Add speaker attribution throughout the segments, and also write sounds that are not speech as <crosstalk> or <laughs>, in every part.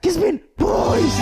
Speaker 1: Kismin Boys.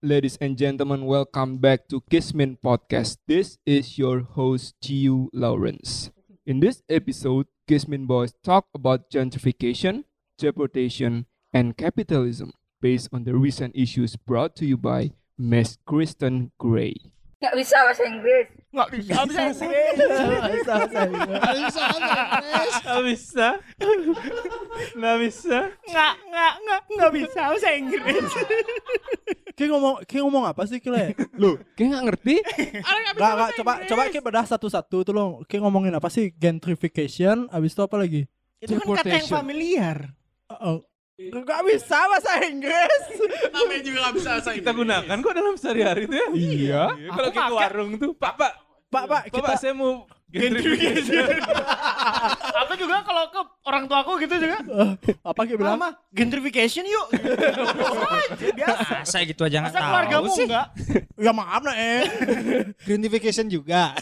Speaker 1: Ladies and gentlemen, welcome back to Kismin Podcast. This is your host, Giu Lawrence. In this episode, Kismin Boys talk about gentrification, deportation, and capitalism based on the recent issues brought to you by Miss Kristen Gray.
Speaker 2: Gak bisa bahasa Inggris.
Speaker 3: Nggak bisa.
Speaker 4: bisa
Speaker 3: bisa.
Speaker 4: Nggak bisa. Nggak bisa.
Speaker 3: Nggak, nggak, nggak, nggak bisa bahasa Inggris.
Speaker 5: Ki ngomong, Ki ngomong apa sih Ki le?
Speaker 1: Loh, kayak nggak ngerti?
Speaker 3: Orang nggak
Speaker 5: Gak,
Speaker 3: bisa
Speaker 5: gak,
Speaker 3: bahasa
Speaker 5: coba,
Speaker 3: Inggris.
Speaker 5: coba Ki bedah satu-satu tuh lo. Ki ngomongin apa sih? Gentrification, abis itu apa lagi?
Speaker 3: Itu kan kata yang
Speaker 1: deportation.
Speaker 3: familiar.
Speaker 1: Uh-uh.
Speaker 5: Uh -oh. Gak bisa bahasa Inggris.
Speaker 3: Namanya juga nggak bisa bahasa
Speaker 4: Kita gunakan kok dalam sehari-hari tuh ya.
Speaker 1: Iya.
Speaker 4: Iya,
Speaker 3: Oh, Aku
Speaker 4: Kalau kayak ke
Speaker 3: pakai-
Speaker 4: warung tuh, Pak, Pak.
Speaker 5: Pak, Pak,
Speaker 4: Bapak,
Speaker 5: kita
Speaker 4: saya mau gentrification.
Speaker 3: Aku juga kalau ke orang tua aku gitu juga.
Speaker 5: <laughs> apa Ki bilang?
Speaker 3: Mama, gentrification yuk. Biasa aja, biasa.
Speaker 6: Masa gitu aja nggak
Speaker 3: Masa
Speaker 6: tahu
Speaker 3: keluargamu
Speaker 6: sih.
Speaker 3: enggak?
Speaker 5: Ya maaf nah eh.
Speaker 6: Gentrification juga.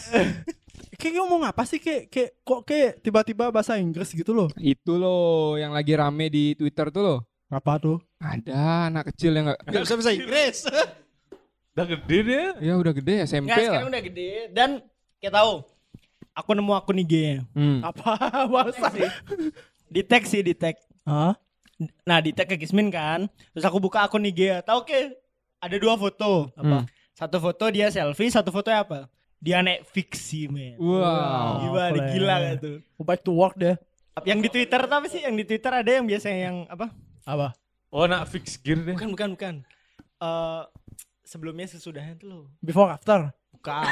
Speaker 5: Ki Ki ngomong apa sih Ki? Ki kok Ki tiba-tiba bahasa Inggris gitu loh?
Speaker 1: Itu loh yang lagi rame di Twitter tuh loh.
Speaker 5: Apa tuh?
Speaker 1: Ada anak kecil yang nggak
Speaker 6: Gak bisa bahasa
Speaker 3: <laughs>
Speaker 6: Inggris.
Speaker 4: Udah gede dia.
Speaker 1: ya udah gede SMP
Speaker 3: Nggak, sekarang
Speaker 1: lah.
Speaker 3: udah gede. Dan kita tahu. Aku nemu akun IG-nya.
Speaker 1: Hmm.
Speaker 5: Apa bahasa?
Speaker 3: Di tag sih, di tag.
Speaker 5: Hah?
Speaker 3: Nah, di tag ke Kismin kan. Terus aku buka akun IG-nya. Tahu Ki? Ada dua foto.
Speaker 1: Apa?
Speaker 3: Satu foto dia selfie, satu foto apa? Dia naik fiksi, men.
Speaker 1: Wow.
Speaker 3: Gila,
Speaker 5: boleh.
Speaker 3: gila gak tuh.
Speaker 5: Go Back to work deh.
Speaker 3: Yang di Twitter tapi sih yang di Twitter ada yang biasanya yang apa?
Speaker 5: Apa?
Speaker 4: Oh, nak fix gear dia.
Speaker 3: Bukan, bukan, bukan. Eh sebelumnya sesudahnya tuh loh.
Speaker 5: Before after.
Speaker 3: Bukan.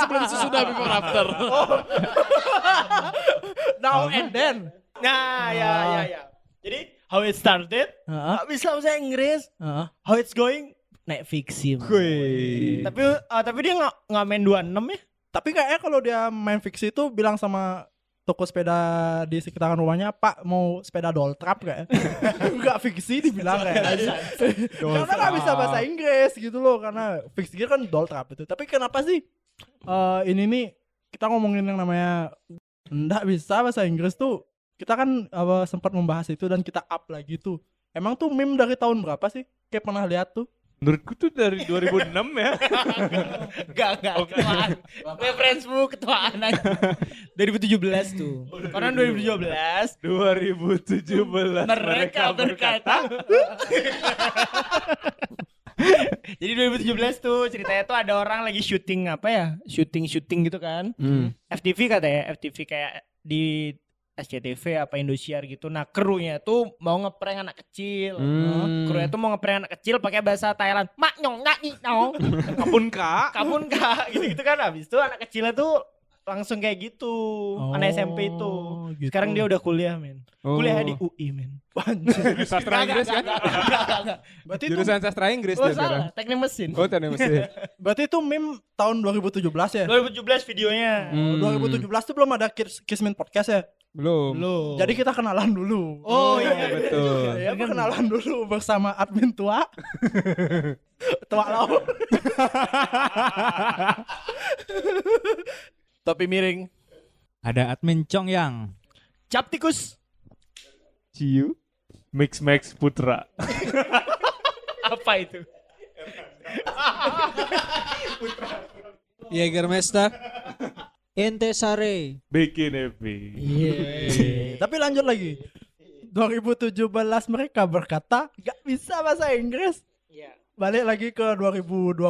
Speaker 4: sebelum sesudah before after.
Speaker 5: <laughs> Now and then.
Speaker 3: Nah, ya, ya, ya. Jadi how it started,
Speaker 5: Heeh.
Speaker 3: nggak bisa bahasa Inggris,
Speaker 5: Heeh.
Speaker 3: how it's going, naik fiksi. men. Tapi eh, tapi dia nggak nggak main 26 ya?
Speaker 5: Tapi kayaknya kalau dia main fiksi itu bilang sama toko sepeda di sekitaran rumahnya, Pak mau sepeda doll trap <laughs> kayak. Enggak fiksi dibilang
Speaker 3: Iya,
Speaker 5: kayak. gitu. karena nggak bisa bahasa Inggris gitu loh karena fiksi kan doll trap itu. Tapi kenapa sih eh, ini nih kita ngomongin yang namanya enggak bisa bahasa Inggris tuh kita kan apa, sempat membahas itu dan kita up lagi tuh. Emang tuh meme dari tahun berapa sih? Kayak pernah lihat tuh.
Speaker 4: Menurutku tuh dari 2006 ya.
Speaker 3: Enggak, Oh, enggak. Ketuaan. Referensimu ketuaan aja. 2017 tuh. Karena 2017
Speaker 4: 2017
Speaker 3: mereka berkata jadi 2017 tuh ceritanya tuh ada orang lagi syuting apa ya syuting syuting gitu kan
Speaker 1: Hmm.
Speaker 3: FTV katanya FTV kayak di SCTV apa Indosiar gitu nah krunya tuh mau ngeprank anak kecil
Speaker 1: Hmm.
Speaker 3: krunya tuh mau ngeprank anak kecil pakai bahasa Thailand mak nyong nyak ni nong
Speaker 4: Kapun kak.
Speaker 3: kabun kak <laughs> gitu gitu kan habis itu anak kecilnya tuh langsung kayak gitu
Speaker 1: Oh.
Speaker 5: Oh,
Speaker 3: anak SMP itu
Speaker 1: Gitu.
Speaker 5: gitu.
Speaker 3: sekarang dia udah kuliah men kuliah di UI men <laughs>
Speaker 1: sastra Inggris kan?
Speaker 5: Berarti itu
Speaker 1: Jurusan sastra Inggris
Speaker 3: Oh
Speaker 1: dia sekarang.
Speaker 3: salah, teknik mesin.
Speaker 1: Oh, tadi mesti.
Speaker 5: berarti itu meme tahun 2017 ya?
Speaker 3: 2017 videonya.
Speaker 5: Oh,
Speaker 1: Hmm.
Speaker 5: 2017 tuh belum ada Kids- Kismin Podcast ya.
Speaker 1: Belum.
Speaker 3: Belum.
Speaker 5: Jadi kita kenalan dulu.
Speaker 3: Oh iya. kan?
Speaker 1: Betul.
Speaker 5: Ya, apa kenalan dulu bersama admin
Speaker 3: <laughs>
Speaker 5: tua. tua lau.
Speaker 3: Topi miring.
Speaker 6: Ada admin Cong Yang.
Speaker 3: Cap tikus.
Speaker 1: Ciu.
Speaker 4: Mix Max Putra.
Speaker 3: <laughs> Apa itu?
Speaker 6: Jägermeister. Intesare.
Speaker 4: Bikin happy.
Speaker 3: Iya.
Speaker 5: Tapi lanjut lagi. 2017 mereka berkata gak bisa bahasa Inggris.
Speaker 3: Iya.
Speaker 5: Balik lagi ke 2021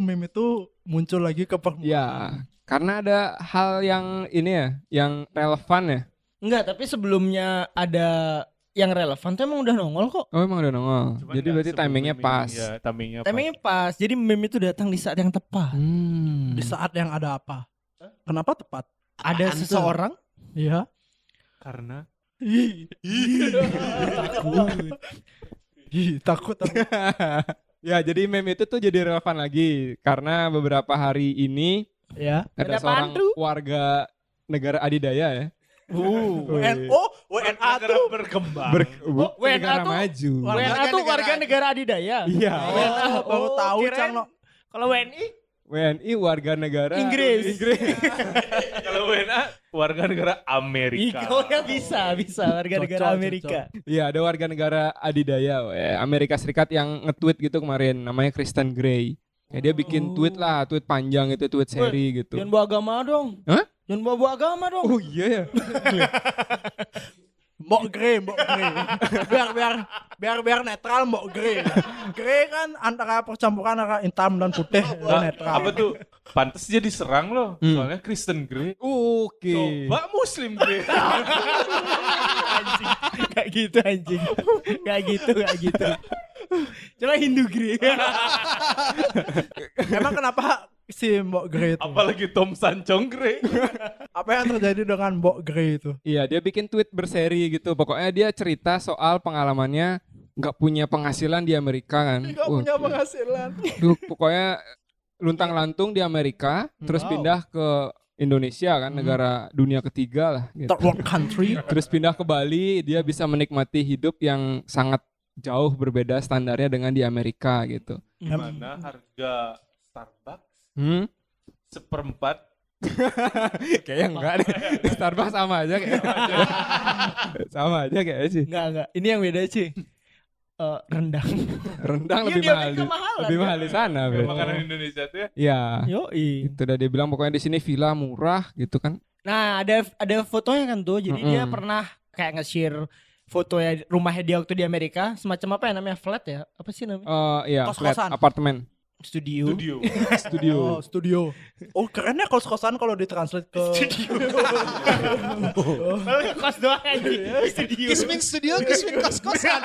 Speaker 5: meme itu muncul lagi ke permukaan.
Speaker 3: Iya.
Speaker 1: Ya, karena ada hal yang ini ya, yang relevan ya.
Speaker 3: Enggak, tapi sebelumnya ada yang relevan tuh emang udah nongol kok.
Speaker 1: Oh, emang udah nongol.
Speaker 4: Cuman
Speaker 1: Jadi
Speaker 4: nggak
Speaker 1: berarti
Speaker 4: sebelum
Speaker 1: timingnya
Speaker 4: ini,
Speaker 1: pas.
Speaker 4: Iya, timingnya pas.
Speaker 3: Timingnya pas. Jadi meme itu datang di saat yang tepat.
Speaker 1: Hmm.
Speaker 5: Di saat yang ada apa? Kenapa tepat?
Speaker 3: Ada
Speaker 5: Apaan tuh?
Speaker 3: seseorang
Speaker 5: Iya.
Speaker 4: Karena
Speaker 5: Ih. Ih, takut. aku.
Speaker 3: <laughs>
Speaker 1: ya, jadi meme itu tuh jadi relevan lagi karena beberapa hari ini
Speaker 5: Ya.
Speaker 1: ada
Speaker 3: Ada
Speaker 1: seorang
Speaker 3: pandu.
Speaker 1: warga negara adidaya ya.
Speaker 5: WNO, WNA
Speaker 4: negara
Speaker 5: tuh
Speaker 4: berkembang.
Speaker 1: Ber
Speaker 3: WNA
Speaker 1: negara
Speaker 3: tuh-
Speaker 1: maju.
Speaker 3: WNA tuh warga negara adidaya.
Speaker 1: Iya.
Speaker 5: Oh, baru
Speaker 3: Oh,
Speaker 5: tahu
Speaker 3: kirain
Speaker 5: Cang no.
Speaker 3: Kalau WNI
Speaker 1: WNI warga negara
Speaker 3: Eh, Inggris.
Speaker 1: Inggris.
Speaker 4: <laughs>
Speaker 1: <laughs>
Speaker 4: Kalau WNA warga negara
Speaker 3: Iya.
Speaker 4: Amerika.
Speaker 3: Ih, Korea ya bisa, bisa warga
Speaker 5: Cocok,
Speaker 3: negara Amerika.
Speaker 1: Iya, ada warga negara adidaya eh, Amerika Serikat yang nge-tweet gitu kemarin namanya Kristen Gray. Ya, dia bikin tweet lah, tweet panjang itu, tweet seri gitu.
Speaker 3: Jangan bawa agama dong.
Speaker 1: Hah?
Speaker 3: Jangan bawa, bawa agama dong.
Speaker 1: Oh iya ya.
Speaker 5: Mbok grey, mbok grey. biar biar biar biar netral mbok grey. Grey kan antara percampuran antara hitam dan putih
Speaker 4: Nah,
Speaker 5: netral.
Speaker 4: apa tuh? Pantes jadi serang loh.
Speaker 1: Hmm.
Speaker 4: Soalnya Kristen Grey.
Speaker 1: Oke.
Speaker 4: Coba Muslim
Speaker 3: <laughs>
Speaker 4: Grey.
Speaker 3: <laughs> anjing. Gak gitu anjing. Gak gitu, gak gitu. Coba Hindu Gri.
Speaker 5: Emang kenapa si mbok grey itu?
Speaker 4: Apalagi Tom Sancong Grey.
Speaker 3: Hmm.
Speaker 5: Apa yang terjadi dengan mbok grey itu?
Speaker 1: Iya, dia bikin tweet berseri gitu. Pokoknya dia cerita soal pengalamannya nggak punya penghasilan di Amerika kan.
Speaker 5: Gak
Speaker 1: Wah,
Speaker 5: punya penghasilan.
Speaker 1: Duh, pokoknya luntang lantung di Amerika, terus
Speaker 5: Wow.
Speaker 1: pindah ke Indonesia kan, negara dunia ketiga lah. Gitu.
Speaker 5: Third world country.
Speaker 1: Terus pindah ke Bali, dia bisa menikmati hidup yang sangat jauh berbeda standarnya dengan di Amerika gitu.
Speaker 4: Mana harga Starbucks
Speaker 1: Hmm?
Speaker 4: seperempat
Speaker 1: <laughs> Kayaknya enggak deh. <laughs> Starbucks sama aja kayak. <laughs> sama aja kayaknya sih.
Speaker 3: Enggak, enggak. Ini yang beda sih. Eh, rendang.
Speaker 1: Rendang
Speaker 3: Iya,
Speaker 1: Hmm. lebih ya. Iya, mahal
Speaker 3: di Amerika
Speaker 1: di,
Speaker 3: mahalan,
Speaker 1: lebih mahal di sana, Bro.
Speaker 4: makanan Indonesia tuh ya.
Speaker 1: Iya.
Speaker 3: <laughs> Yoi.
Speaker 1: Itu udah dia bilang pokoknya di sini villa murah gitu kan.
Speaker 3: Nah, ada ada fotonya kan tuh. Jadi dia
Speaker 1: Mm-mm.
Speaker 3: pernah kayak nge-share fotonya rumahnya dia waktu di Amerika, semacam apa ya namanya flat ya? Apa sih namanya?
Speaker 1: Eh iya, flat
Speaker 5: Kos-kosan.
Speaker 1: apartemen,
Speaker 3: Studio. <laughs>
Speaker 4: Studio.
Speaker 1: studio.
Speaker 5: Oh, studio. Oh, kerennya kos-kosan kalau ditranslate ke
Speaker 3: Oh, Kos doang anjing.
Speaker 5: <laughs> Iya,
Speaker 3: Studio.
Speaker 6: Kismin studio, kismin kos-kosan.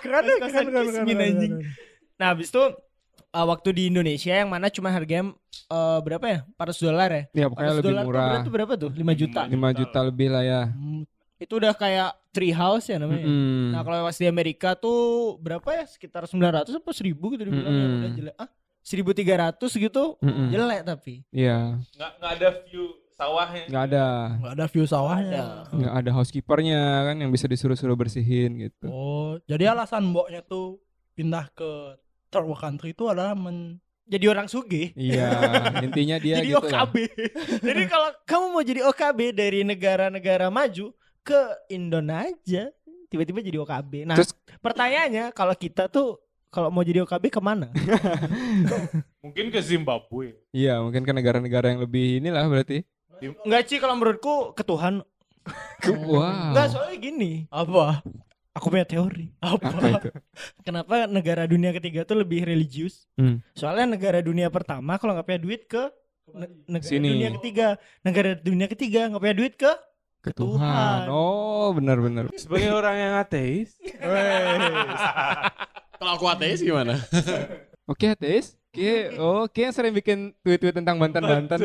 Speaker 5: keren ya, keren, keren, keren,
Speaker 3: Kismin,
Speaker 5: keren,
Speaker 3: anjing.
Speaker 5: keren.
Speaker 3: Nah, habis itu uh, waktu di Indonesia yang mana cuma harganya uh, berapa ya? 400 dolar ya?
Speaker 1: Ya pokoknya
Speaker 3: 400
Speaker 1: lebih
Speaker 3: dolar tuh
Speaker 1: murah.
Speaker 3: berarti berapa tuh? 5 juta.
Speaker 1: 5 juta lebih lah ya.
Speaker 5: Hmm,
Speaker 3: Itu udah kayak tree house ya namanya.
Speaker 1: Mm-mm.
Speaker 3: Nah, kalau pas di Amerika tuh berapa ya? Sekitar 900 apa 1000 gitu dibilang ya,
Speaker 1: Mm-mm.
Speaker 3: udah jelek. Ah, 1300 gitu
Speaker 1: Mm-mm.
Speaker 3: jelek tapi.
Speaker 1: Iya,
Speaker 4: Nggak nggak ada view sawahnya.
Speaker 1: nggak ada.
Speaker 5: nggak ada view sawahnya.
Speaker 3: Ada.
Speaker 1: Nggak ada housekeepernya kan yang bisa disuruh-suruh bersihin gitu.
Speaker 5: Oh, jadi alasan mboknya tuh pindah ke third world country itu adalah men
Speaker 3: Jadi orang sugih.
Speaker 1: Iya, intinya dia
Speaker 3: jadi
Speaker 1: gitu
Speaker 3: OKB. <laughs> jadi kalau kamu mau jadi OKB dari negara-negara maju ke Indonesia aja, tiba-tiba jadi OKB. Nah,
Speaker 1: Terus-
Speaker 3: pertanyaannya kalau kita tuh kalau mau jadi OKB kemana?
Speaker 4: Mungkin ke Zimbabwe.
Speaker 1: ya. Iya, mungkin ke negara-negara yang lebih inilah berarti.
Speaker 3: Enggak sih kalau menurutku ke Tuhan.
Speaker 1: Wow.
Speaker 3: Enggak soalnya gini,
Speaker 5: apa?
Speaker 3: aku punya teori.
Speaker 1: Apa itu?
Speaker 3: Kenapa negara dunia ketiga tuh lebih religius?
Speaker 1: Hmm.
Speaker 3: Soalnya negara dunia pertama kalau nggak punya duit ke ne- negara
Speaker 1: Sini.
Speaker 3: dunia ketiga, negara dunia ketiga nggak punya duit ke
Speaker 1: Ketuhan.
Speaker 3: Ketuhan.
Speaker 1: Oh, benar-benar.
Speaker 4: Sebagai orang yang ateis,
Speaker 6: Kalau aku ateis gimana?
Speaker 1: Oke, ateis. Oke, oke yang sering bikin tweet-tweet tentang Banten-Banten.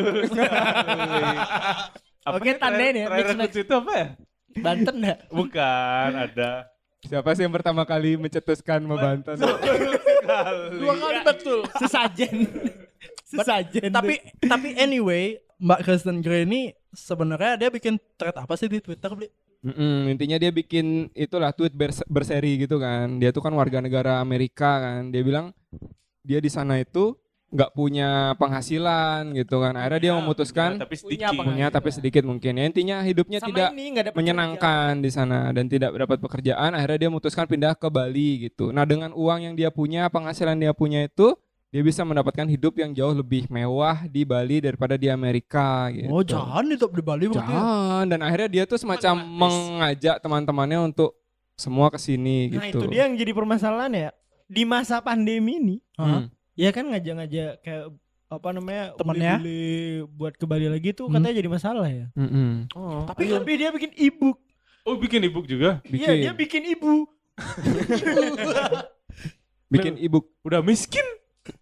Speaker 4: Apa
Speaker 3: Oke,
Speaker 4: sih
Speaker 3: tandain ya,
Speaker 4: terakhir- Terakhir
Speaker 3: mix match.
Speaker 4: aku itu apa ya?
Speaker 3: Banten
Speaker 1: <laughs>
Speaker 3: ya?
Speaker 4: Bukan, ada.
Speaker 1: <laughs> Siapa sih yang pertama kali mencetuskan sama Banten?
Speaker 4: Dua kali.
Speaker 5: betul.
Speaker 3: <laughs> Sesajen. Sesajen.
Speaker 5: tapi tapi anyway, Mbak Kristen Grey ini sebenarnya dia bikin thread apa sih di Twitter, Bli?
Speaker 1: Mm-mm, intinya dia bikin itulah tweet bers- berseri gitu kan. Dia tuh kan warga negara Amerika kan. Dia bilang dia di sana itu nggak punya penghasilan gitu kan. Akhirnya
Speaker 4: Iya,
Speaker 1: dia memutuskan
Speaker 3: Punya
Speaker 4: tapi sedikit.
Speaker 3: penghasilan.
Speaker 1: punya tapi sedikit mungkin. Ya, intinya hidupnya
Speaker 3: gitu. Sama
Speaker 1: tidak
Speaker 3: ini nggak ada
Speaker 1: menyenangkan di sana dan tidak dapat pekerjaan. Akhirnya dia memutuskan pindah ke Bali gitu. Nah dengan uang yang dia punya, penghasilan dia punya itu dia bisa mendapatkan hidup yang jauh lebih mewah di Bali daripada di Amerika gitu.
Speaker 5: Oh, jangan di top di Bali berarti. ya.
Speaker 1: Jangan. Dan akhirnya dia tuh semacam mengajak teman-temannya untuk semua ke sini
Speaker 3: Nah
Speaker 1: gitu.
Speaker 3: itu dia yang jadi permasalahan ya di masa pandemi ini
Speaker 1: Hmm.
Speaker 3: ya kan ngajak-ngajak kayak apa namanya
Speaker 5: Temennya?
Speaker 3: beli buat ke Bali lagi tuh
Speaker 1: Hmm.
Speaker 3: katanya jadi masalah ya.
Speaker 1: Mm-mm.
Speaker 3: Tapi tapi dia bikin ibu.
Speaker 4: Oh, bikin ebook juga.
Speaker 1: Bikin,
Speaker 3: Iya dia bikin ibu.
Speaker 1: bikin ebook.
Speaker 4: Udah miskin.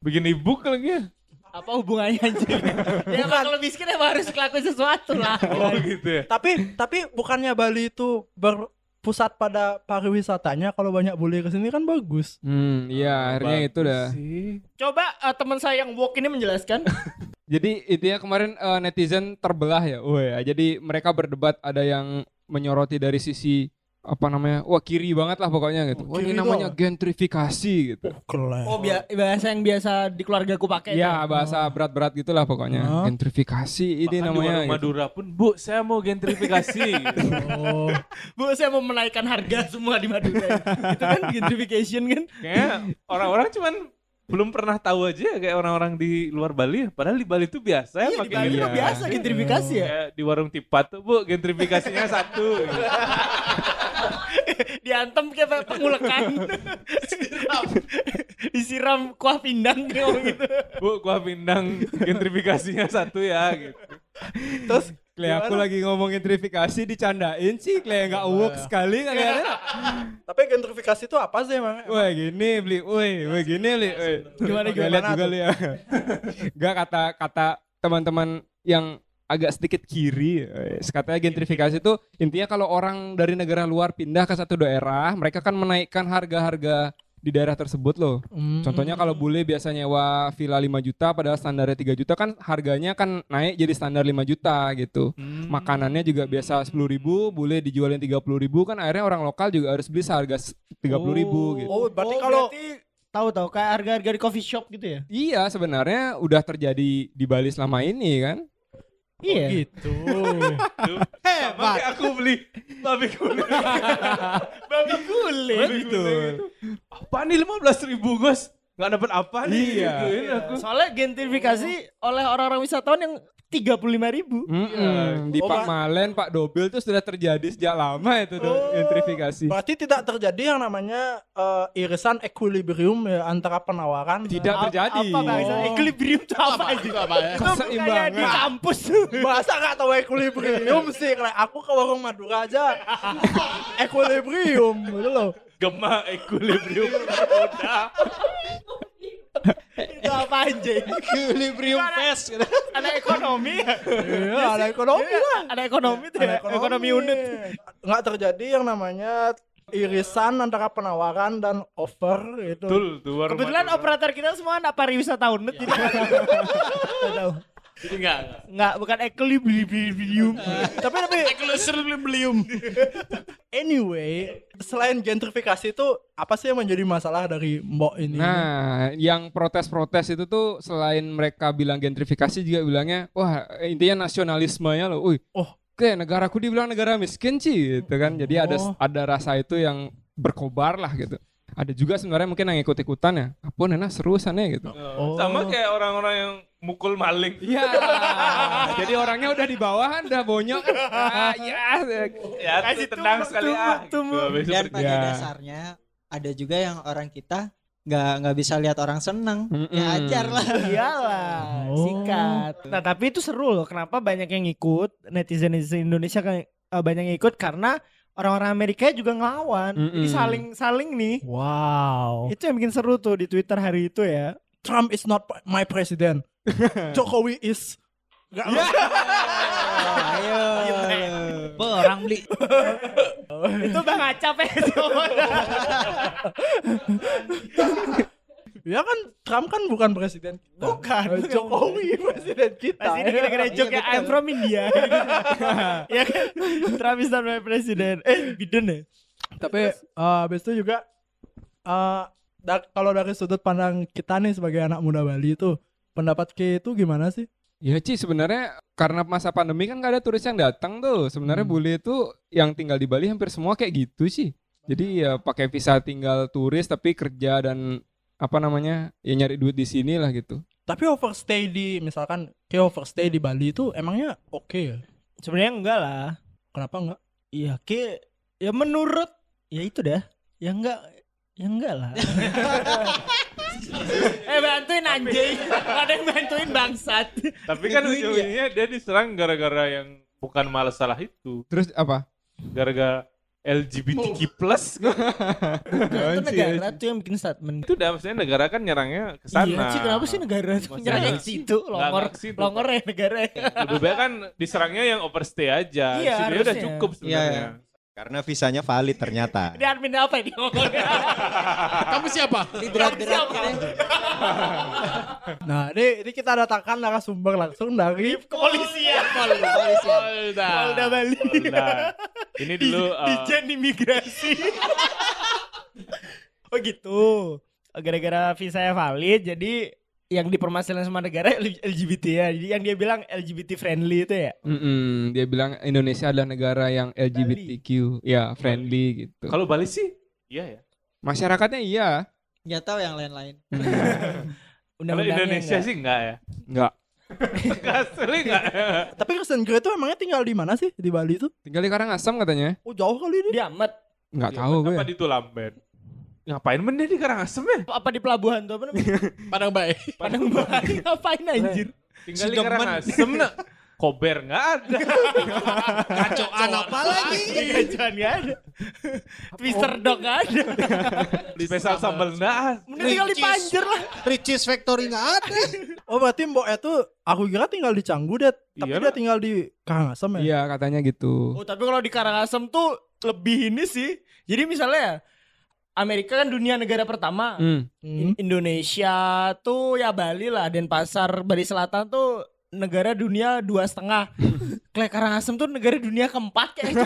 Speaker 4: Bikin ebook lagi ya.
Speaker 3: Apa hubungannya anjing? ya emang kalau miskin emang harus ngelakuin sesuatu lah.
Speaker 1: Iya.
Speaker 4: Oh, gitu ya.
Speaker 5: Tapi tapi bukannya Bali itu berpusat pada pariwisatanya kalau banyak bule ke sini kan bagus.
Speaker 1: Hmm,
Speaker 3: Ah,
Speaker 1: iya akhirnya
Speaker 4: Bagus
Speaker 1: itu dah.
Speaker 4: sih.
Speaker 3: Coba eh, teman saya yang walk ini menjelaskan.
Speaker 1: Jadi intinya kemarin eh, ya. netizen terbelah ya. Wah, jadi mereka berdebat ada yang menyoroti dari sisi eh, apa namanya wah kiri banget lah pokoknya gitu wah ini
Speaker 5: kiri itu
Speaker 1: namanya
Speaker 5: apa?
Speaker 1: gentrifikasi gitu
Speaker 5: Keren.
Speaker 3: <laughs> Oh bia- bahasa yang biasa di keluargaku pakai. kan.
Speaker 1: ya bahasa berat-berat gitulah pokoknya
Speaker 5: Hah?
Speaker 1: gentrifikasi ini
Speaker 4: Bahkan di
Speaker 1: namanya
Speaker 4: warung
Speaker 1: gitu.
Speaker 4: Madura pun, Bu, saya mau gentrifikasi. gitu.
Speaker 5: Oh.
Speaker 3: Bu saya mau menaikkan harga <laughs> semua di Madura. itu kan gentrification kan.
Speaker 4: Kayaknya orang-orang cuman belum pernah tahu aja kayak orang-orang di luar Bali, ya. padahal di Bali itu biasa ya
Speaker 3: Iya di
Speaker 4: pakai
Speaker 3: Bali
Speaker 4: gitu.
Speaker 3: mah biasa gentrifikasi ya.
Speaker 4: Kayak di warung tipat tuh, Bu, gentrifikasinya satu. gitu.
Speaker 3: <laughs> Diantem kayak pengulekan. <laughs> Disiram kuah pindang kayak orang gitu.
Speaker 4: Bu, gua pindang gentrifikasinya satu ya gitu.
Speaker 1: terus Kle aku lagi ngomong gentrifikasi dicandain sih Kle nggak work sekali kayaknya
Speaker 5: Tapi gentrifikasi itu apa sih emang?
Speaker 1: Woi gini beli, woi woi gini beli, woi.
Speaker 5: Gimana,
Speaker 1: Oke,
Speaker 5: gimana
Speaker 1: lihat
Speaker 5: tuh?
Speaker 1: juga lu ya. Gak kata kata teman-teman yang agak sedikit kiri, eh, katanya gentrifikasi itu intinya kalau orang dari negara luar pindah ke satu daerah, mereka kan menaikkan harga-harga di daerah tersebut loh.
Speaker 3: Hmm.
Speaker 1: Contohnya kalau bule biasa nyewa villa 5 juta padahal standarnya 3 juta kan harganya kan naik jadi standar 5 juta gitu.
Speaker 5: Hmm.
Speaker 1: Makanannya juga biasa 10 ribu, bule dijualin 30 ribu kan akhirnya orang lokal juga harus beli seharga 30 ribu gitu.
Speaker 5: Oh, berarti kalau
Speaker 3: tahu tahu kayak harga-harga di coffee shop gitu ya.
Speaker 1: Iya sebenarnya udah terjadi di Bali selama ini kan.
Speaker 3: Iya. <laughs>
Speaker 5: gitu.
Speaker 4: Sama kayak aku beli babi kulit. babi kulit.
Speaker 5: ya
Speaker 3: Gitu.
Speaker 4: Apa nih 15 ribu, Gus? Gak dapat apa nih?
Speaker 1: Iya.
Speaker 3: Gitu
Speaker 4: Gituin
Speaker 3: ya,
Speaker 4: aku.
Speaker 3: Soalnya gentrifikasi oleh orang-orang wisatawan yang 35.000 ribu.
Speaker 1: Mm-mm. Di
Speaker 5: Oh,
Speaker 1: Pak
Speaker 5: Pak-
Speaker 1: Malen, Pak Dobil tuh sudah terjadi sejak lama itu tuh
Speaker 5: Oh.
Speaker 1: gentrifikasi.
Speaker 5: Berarti tidak terjadi yang namanya eh, irisan equilibrium ya, antara penawaran
Speaker 1: Tidak terjadi.
Speaker 3: Apa bahasa
Speaker 5: Oh.
Speaker 3: equilibrium itu apa
Speaker 7: Apa
Speaker 3: aja?
Speaker 7: itu apa ya?
Speaker 3: Kayak di
Speaker 1: Keseimbangan.
Speaker 3: kampus.
Speaker 5: Bahasa gak tahu equilibrium sih. Kayak aku ke warung Madura aja. equilibrium gitu loh.
Speaker 4: Gema equilibrium.
Speaker 3: itu apa aja?
Speaker 7: Equilibrium fest. gitu.
Speaker 3: Ada ekonomi.
Speaker 5: Iya, ada ekonomi lah.
Speaker 3: Ada ekonomi tuh ya. Ekonomi, unit.
Speaker 5: Nggak terjadi yang namanya irisan antara penawaran dan offer gitu.
Speaker 4: Betul, tuh warung
Speaker 3: Kebetulan
Speaker 4: Madura.
Speaker 3: operator kita semua anak pariwisata unit jadi Nggak tahu.
Speaker 7: Jadi enggak.
Speaker 3: Nggak, bukan equilibrium.
Speaker 5: tapi tapi
Speaker 7: Equilibrium.
Speaker 5: anyway, selain gentrifikasi itu apa sih yang menjadi masalah dari Mbok ini?
Speaker 1: Nah, yang protes-protes itu tuh selain mereka bilang gentrifikasi juga bilangnya, wah intinya nasionalismenya loh. Uy,
Speaker 5: Oh.
Speaker 1: kayak negaraku dibilang negara miskin sih gitu kan. Jadi ada ada rasa itu yang berkobar lah gitu. Ada juga sebenarnya mungkin yang ikut-ikutan ya. Apa nena seru sana
Speaker 4: Oh.
Speaker 1: gitu.
Speaker 3: Oh.
Speaker 4: Sama kayak orang-orang yang mukul maling.
Speaker 1: Iya. <laughs> Jadi orangnya udah di bawah, udah bonyok. Ah, ya.
Speaker 4: Ya,
Speaker 3: Kasih
Speaker 4: tuh tenang
Speaker 3: tumbuh,
Speaker 4: sekali ah.
Speaker 3: tumbuh, tumbuh.
Speaker 4: Gitu, habis itu
Speaker 6: Dan
Speaker 4: pergi.
Speaker 6: pada
Speaker 1: Ya.
Speaker 6: dasarnya ada juga yang orang kita nggak nggak bisa lihat orang seneng.
Speaker 1: Mm-mm.
Speaker 6: Ya ajar lah.
Speaker 3: Iyalah, sikat. Nah, tapi itu seru loh. Kenapa banyak yang ngikut netizen netizen Indonesia kan eh, banyak yang ngikut karena orang-orang Amerika juga ngelawan. Jadi
Speaker 1: Mm-mm.
Speaker 3: saling saling nih.
Speaker 5: Wow.
Speaker 3: Itu yang bikin seru tuh di Twitter hari itu ya.
Speaker 5: Trump is not my
Speaker 3: <laughs>
Speaker 5: president. Jokowi is Gak
Speaker 3: Ya.
Speaker 6: Ayo.
Speaker 3: Be, orang beli. <laughs> itu Bang Acap ya.
Speaker 5: Ya kan Trump kan bukan presiden kita.
Speaker 3: Bukan.
Speaker 5: Eh, Jokowi <laughs> presiden kita. kan?
Speaker 3: Pasti ini gara-gara joke ya, I'm from <laughs> India. ya kan? Trump is not my president. Eh, Biden ya?
Speaker 5: Tapi eh, habis itu juga eh da- kalau dari sudut pandang kita nih sebagai anak muda Bali itu pendapat Ki itu gimana sih?
Speaker 1: Ya Ci sebenarnya karena masa pandemi kan gak ada turis yang datang tuh. Sebenarnya bule itu yang tinggal di Bali hampir semua kayak gitu sih. Jadi ya pakai visa tinggal turis tapi kerja dan apa namanya ya nyari duit di sini lah gitu.
Speaker 5: Tapi overstay di misalkan Ki overstay di Bali itu emangnya oke ya?
Speaker 3: Sebenarnya enggak lah.
Speaker 5: Kenapa enggak?
Speaker 3: Iya, ke ya menurut ya itu dah. Ya enggak ya enggak lah. <laughs> eh bantuin anjing. Ada yang bantuin bangsat.
Speaker 4: Tapi kan ujung-ujungnya dia diserang gara-gara yang bukan malah salah itu.
Speaker 1: Terus apa?
Speaker 4: Gara-gara LGBTQ+.
Speaker 3: itu negara tuh yang bikin statement.
Speaker 4: Itu udah maksudnya negara kan nyerangnya ke sana.
Speaker 3: Iya, sih kenapa sih negara tuh
Speaker 4: Maksudnya
Speaker 3: nyerang yang
Speaker 4: nggak-
Speaker 3: situ longor
Speaker 4: nggak ke situ.
Speaker 3: longor ya negara.
Speaker 4: Lebih baik kan diserangnya yang overstay aja.
Speaker 3: Iya,
Speaker 4: Iya, Sudah udah
Speaker 3: harusnya.
Speaker 4: cukup sebenarnya.
Speaker 8: Karena visanya valid ternyata.
Speaker 3: Ini admin apa ini ngomongnya?
Speaker 7: Ah. Kamu siapa?
Speaker 6: Diberat-berat gitu.
Speaker 5: Nah, ini, ini kita datangkan narasumber langsung dari
Speaker 3: Kepolisian.
Speaker 7: Polda.
Speaker 3: Polda Bali.
Speaker 4: Nah, ini dulu eh,
Speaker 3: <laughs> Dijen imigrasi. <laughs> oh gitu. Gara-gara visa saya valid jadi yang dipermasalahin sama negara LGBT ya. Jadi yang dia bilang LGBT friendly itu ya.
Speaker 1: Mm-mm, dia bilang Indonesia adalah negara yang LGBTQ, ya friendly gitu.
Speaker 4: kalau Bali sih iya ya.
Speaker 1: Masyarakatnya iya,
Speaker 6: Nggak tahu yang lain-lain.
Speaker 4: Kalau
Speaker 3: Undang-undangnya
Speaker 4: Indonesia
Speaker 3: enggak.
Speaker 4: sih enggak <laughs> ya.
Speaker 1: nggak
Speaker 4: Asli ya. enggak.
Speaker 5: Tapi Kristen Grey itu emangnya tinggal di mana sih di Bali tuh?
Speaker 1: tinggal di Karangasem katanya. Iya,
Speaker 5: Oh, jauh kali ini.
Speaker 3: dia amat
Speaker 1: Nggak tahu gue.
Speaker 4: Apa di Tulamben? Ngapain men dia di Karangasem ya?
Speaker 3: apa di pelabuhan tuh apa namanya?
Speaker 7: Padang baik.
Speaker 3: <laughs> Padang <laughs> Bayi ngapain anjir?
Speaker 4: Tinggal di
Speaker 7: Sidemen.
Speaker 4: Karangasem nak. Kober nggak ada.
Speaker 7: Kacauan apa lagi?
Speaker 3: Jangan gak <laughs> ada. Twister dog gak ada.
Speaker 4: Spesial sambal nggak ada.
Speaker 3: Mending tinggal di
Speaker 7: Ricis.
Speaker 3: Panjer lah.
Speaker 7: Ricis Factory nggak ada.
Speaker 5: Oh, berarti Mbok itu aku kira tinggal di Canggu deh, tapi
Speaker 4: Iya,
Speaker 5: dia
Speaker 4: lah.
Speaker 5: tinggal di Karangasem ya.
Speaker 1: Iya katanya gitu.
Speaker 3: Oh tapi kalau di Karangasem tuh lebih ini sih. Jadi misalnya Amerika kan dunia negara pertama.
Speaker 1: Hmm.
Speaker 5: Hmm.
Speaker 3: In- Indonesia tuh ya Bali lah, Denpasar, Bali Selatan tuh negara dunia dua
Speaker 1: <laughs>
Speaker 3: setengah. Kayak Karangasem tuh negara dunia keempat kayak itu.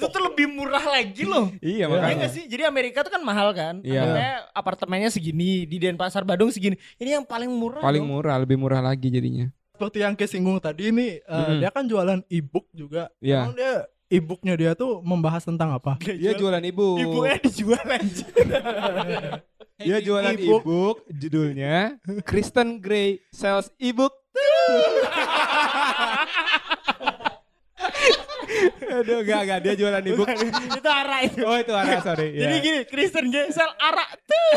Speaker 3: itu tuh lebih murah lagi loh.
Speaker 1: Iya
Speaker 3: Iya
Speaker 1: makanya.
Speaker 3: nggak sih? Jadi Amerika tuh kan mahal kan?
Speaker 1: Iya.
Speaker 3: Anggapnya apartemennya segini, di Denpasar Badung segini. Ini yang paling murah.
Speaker 1: Paling
Speaker 3: dong.
Speaker 1: murah, lebih murah lagi jadinya.
Speaker 5: Seperti yang kesinggung tadi ini, eh,
Speaker 1: Mm-mm.
Speaker 5: dia kan jualan e-book juga.
Speaker 1: Iya.
Speaker 5: Emang dia e-booknya dia tuh membahas tentang apa?
Speaker 1: Dia jualan ibu.
Speaker 3: Ibunya dijual
Speaker 1: <laughs>
Speaker 3: aja.
Speaker 1: Dia jualan
Speaker 5: E-book.
Speaker 1: e-book judulnya Kristen Grey sells e-book. Aduh enggak enggak dia jualan e-book.
Speaker 3: itu arah itu.
Speaker 1: Oh itu ada sorry.
Speaker 3: Jadi
Speaker 1: Iya.
Speaker 3: gini, Kristen Gesel arak tuh.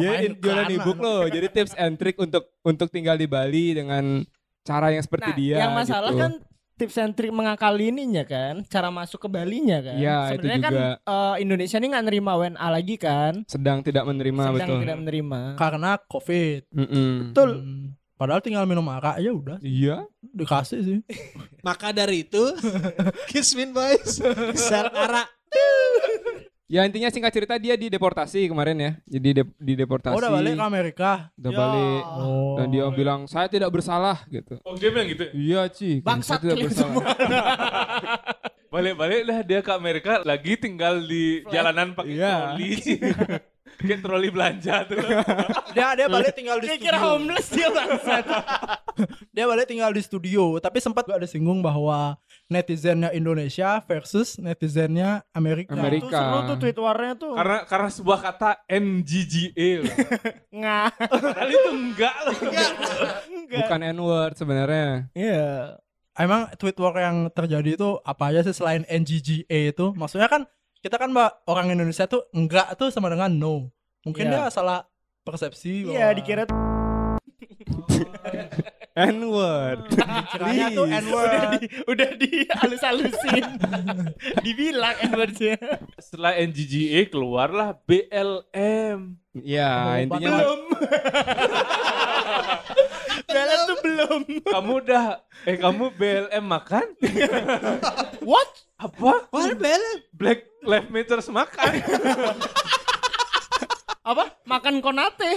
Speaker 1: Dia in- jualan e-book loh. Jadi tips and trick untuk untuk tinggal di Bali dengan cara yang seperti dia.
Speaker 3: yang masalah
Speaker 1: gitu.
Speaker 3: kan tips and trick mengakali ininya kan, cara masuk ke Balinya kan.
Speaker 1: Iya, itu
Speaker 3: Sebenarnya kan
Speaker 1: juga.
Speaker 3: eh, Indonesia ini nggak nerima WNA lagi kan,
Speaker 1: sedang tidak menerima
Speaker 3: sedang
Speaker 1: Nah, betul.
Speaker 3: tidak menerima.
Speaker 5: Karena COVID.
Speaker 1: Mm-mm.
Speaker 3: Betul.
Speaker 5: Hmm. Padahal tinggal minum arak aja udah
Speaker 1: Iya.
Speaker 5: dikasih sih.
Speaker 7: Maka dari
Speaker 6: <laughs>
Speaker 7: itu, Kismin Boys sel arak.
Speaker 1: Ya intinya singkat cerita dia dideportasi kemarin ya. Jadi dep- dideportasi.
Speaker 5: Oh, udah balik ke Amerika.
Speaker 1: Udah balik.
Speaker 5: Oh.
Speaker 1: Dan Nah, dia bilang saya tidak bersalah gitu.
Speaker 4: Oh dia bilang gitu. ya?
Speaker 1: Iya Ci.
Speaker 3: Bangsat
Speaker 1: saya
Speaker 3: gitu
Speaker 1: tidak
Speaker 3: kalian
Speaker 1: bersalah.
Speaker 4: Balik-balik lah dia ke Amerika lagi tinggal di jalanan pakai
Speaker 1: Iya.
Speaker 4: troli. <laughs> Kayak troli belanja tuh.
Speaker 5: Dia
Speaker 3: Iya.
Speaker 5: dia balik tinggal di
Speaker 3: Dia kira
Speaker 5: studio.
Speaker 3: homeless dia bangsat.
Speaker 5: <laughs> Dia balik tinggal di studio, tapi sempat gak ada singgung bahwa netizennya Indonesia versus netizennya Amerika.
Speaker 1: Amerika.
Speaker 3: Tuh seru tuh tweet warnya tuh.
Speaker 4: karena karena sebuah kata NGGA. loh.
Speaker 3: Nggak.
Speaker 4: Padahal itu enggak loh.
Speaker 3: Enggak.
Speaker 1: Bukan N-word sebenarnya.
Speaker 3: Iya.
Speaker 5: Emang tweet war yang terjadi itu apa aja sih selain NGGA itu? Maksudnya kan kita kan mbak orang Indonesia tuh enggak tuh sama dengan no. Mungkin dia
Speaker 3: Iya.
Speaker 5: salah persepsi.
Speaker 3: Iya,
Speaker 5: bahwa
Speaker 3: dikira tuh
Speaker 1: N-word.
Speaker 3: Hmm. Nah,
Speaker 5: dikiranya tuh
Speaker 1: Please.
Speaker 5: N-word.
Speaker 3: di, udah di halus-halusin. <laughs> Dibilang Edwardnya.
Speaker 4: Setelah NGGA E keluarlah BLM.
Speaker 1: Iya intinya.
Speaker 3: Oh, Belum. Belas tuh belum.
Speaker 4: Kamu udah eh kamu BLM makan?
Speaker 3: What?
Speaker 4: Apa?
Speaker 6: Wah, bel.
Speaker 4: Black Lives Matter makan.
Speaker 3: Apa? Makan konate.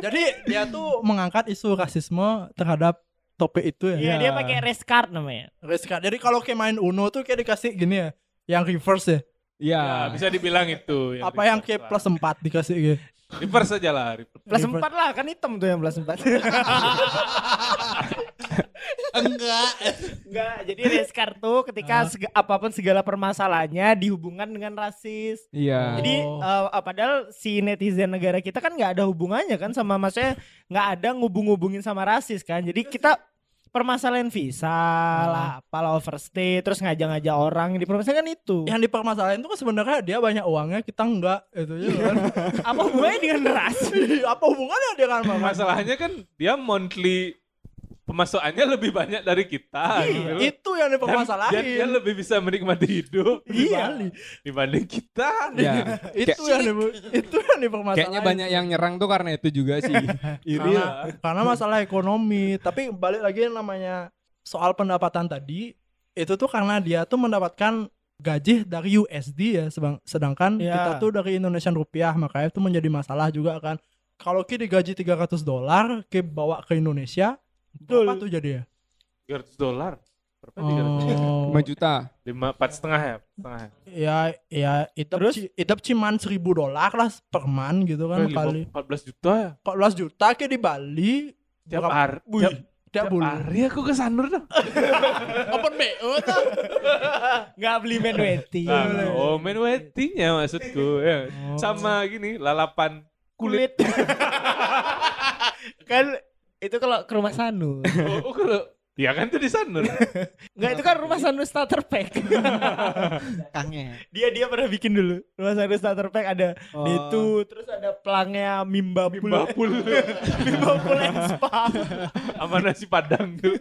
Speaker 5: Jadi dia tuh mengangkat isu rasisme terhadap topik itu ya.
Speaker 3: Iya, dia pakai race card namanya.
Speaker 5: Rizka. Jadi kalau kayak main Uno tuh kayak dikasih gini ya, yang reverse ya.
Speaker 1: Iya.
Speaker 4: Ya, bisa dibilang itu.
Speaker 5: apa yang kayak plus 4 dikasih
Speaker 4: Iya.
Speaker 5: gitu.
Speaker 4: Reverse aja lah. reverse.
Speaker 3: Plus empat lah, kan hitam tuh yang
Speaker 5: <laughs>
Speaker 3: plus empat.
Speaker 7: Enggak.
Speaker 3: Enggak, jadi race card tuh ketika seg- apapun segala permasalahannya dihubungkan dengan rasis.
Speaker 1: Iya.
Speaker 3: Jadi eh, eh, padahal si netizen negara kita kan nggak ada hubungannya kan sama maksudnya nggak ada ngubung-ngubungin sama rasis kan. Jadi kita permasalahan visa lah, apalah overstay, terus ngajak-ngajak orang yang dipermasalahkan itu.
Speaker 5: Yang dipermasalahin tuh kan sebenarnya dia banyak uangnya, kita enggak itu aja kan.
Speaker 4: Iya.
Speaker 3: Apa hubungannya dengan rasis?
Speaker 5: <laughs> apa hubungannya dengan sama
Speaker 4: Masalahnya kan dia monthly pemasukannya lebih banyak dari kita. gitu loh.
Speaker 5: Iya, itu Iya. yang
Speaker 4: Dan- dan dia
Speaker 5: dipermasalahin.
Speaker 4: lebih bisa menikmati hidup di Bali dibanding kita.
Speaker 1: <laughs> Iya.
Speaker 5: itu yang di- itu yang dipermasalahin.
Speaker 1: Kayaknya banyak yang nyerang
Speaker 3: <laughs>
Speaker 1: tuh karena itu juga sih. Iri
Speaker 5: karena, karena masalah ekonomi, tapi balik lagi yang namanya soal pendapatan tadi itu tuh karena dia tuh mendapatkan gaji dari USD ya sebang- sedangkan
Speaker 3: Iya.
Speaker 5: kita tuh dari Indonesian rupiah makanya itu menjadi masalah juga kan kalau Ki digaji 300 dolar Ki bawa ke Indonesia berapa tuh jadi ya
Speaker 4: 300 dolar. Berapa
Speaker 5: oh,
Speaker 1: 5 juta.
Speaker 4: 300? Lima, empat setengah ya? Setengah ya?
Speaker 5: ya ya itu itu cuman 1000 dolar lah per man gitu kan
Speaker 4: Eh, lima-
Speaker 5: kali
Speaker 4: 14 juta ya?
Speaker 5: 14 juta Ki di Bali
Speaker 4: Tiap
Speaker 5: Berapa-
Speaker 4: hari. Tiap,
Speaker 5: tiap
Speaker 4: tiap
Speaker 5: bulan
Speaker 4: hari aku ke Sanur dah.
Speaker 5: open BO tuh
Speaker 3: Nggak beli menweti.
Speaker 4: Nah, oh, main wetinya maksudku. Ya. Sama gini, lalapan kulit.
Speaker 3: Kulit. kan itu kalau ke rumah Sanu.
Speaker 4: Oh, oh, kalau- ya kan itu di Sanur.
Speaker 3: Enggak itu kan rumah Sanu starter pack.
Speaker 6: Kangnya.
Speaker 3: <laughs> dia dia pernah bikin dulu. Oh. Rumah Sanu starter pack ada itu terus ada pelangnya Mimba Pul. Mimba <laughs>
Speaker 4: Bapul.
Speaker 3: and Spa.
Speaker 4: Sama nasi padang tuh.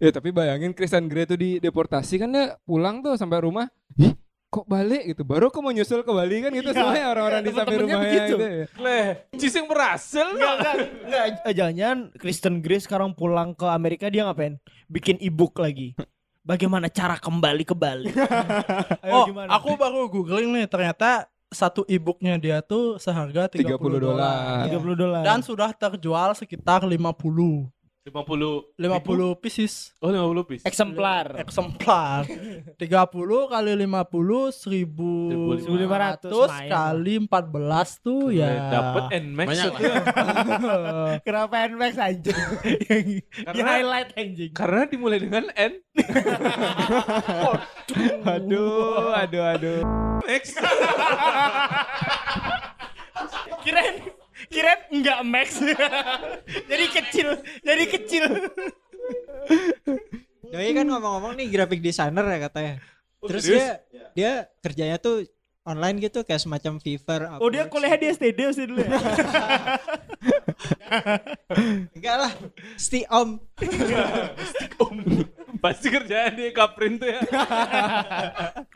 Speaker 1: Ya tapi bayangin Kristen Grey tuh di deportasi kan dia pulang tuh sampai rumah, "Ih, kok balik gitu. Baru aku mau nyusul ke Bali kan gitu semuanya orang-orang di samping
Speaker 3: Iya. temen-temennya
Speaker 1: rumahnya
Speaker 3: begitu.
Speaker 1: gitu. ya.
Speaker 4: Leh, cising berhasil
Speaker 3: Enggak enggak enggak eh, jangan Kristen Grace sekarang pulang ke Amerika dia ngapain? Bikin ebook lagi. Bagaimana cara kembali ke Bali?
Speaker 5: oh aku baru googling nih ternyata satu e-booknya dia tuh seharga 30,
Speaker 1: 30 dolar.
Speaker 3: 30 dolar.
Speaker 5: dan sudah terjual sekitar 50 50
Speaker 4: 50
Speaker 5: pieces
Speaker 4: Oh 50 piece.
Speaker 3: eksemplar. <laughs>
Speaker 5: eksemplar 30 kali 50
Speaker 3: 1500.
Speaker 5: 1500
Speaker 3: <laughs>
Speaker 5: kali 14 tuh
Speaker 4: iya.
Speaker 5: ya
Speaker 4: Dapat Nmax
Speaker 7: Banyak
Speaker 4: itu.
Speaker 3: Kenapa NMAX anjing? Yang di
Speaker 4: Karena-
Speaker 3: highlight anjing.
Speaker 4: Karena dimulai dengan N.
Speaker 1: Aduh, aduh, aduh.
Speaker 4: Max.
Speaker 3: Kirain kirain enggak max. <laughs> jadi kecil, jadi kecil.
Speaker 6: Doi kan ngomong-ngomong nih graphic designer ya katanya.
Speaker 4: Oh,
Speaker 6: Terus
Speaker 4: serius?
Speaker 6: dia dia kerjanya tuh online gitu kayak semacam Fiverr.
Speaker 3: Oh dia
Speaker 6: Upwork.
Speaker 3: kuliah di STD sih
Speaker 5: <laughs>
Speaker 3: dulu ya.
Speaker 6: Enggak lah. Sti Om.
Speaker 4: Pasti kerjaan di Kaprin tuh ya.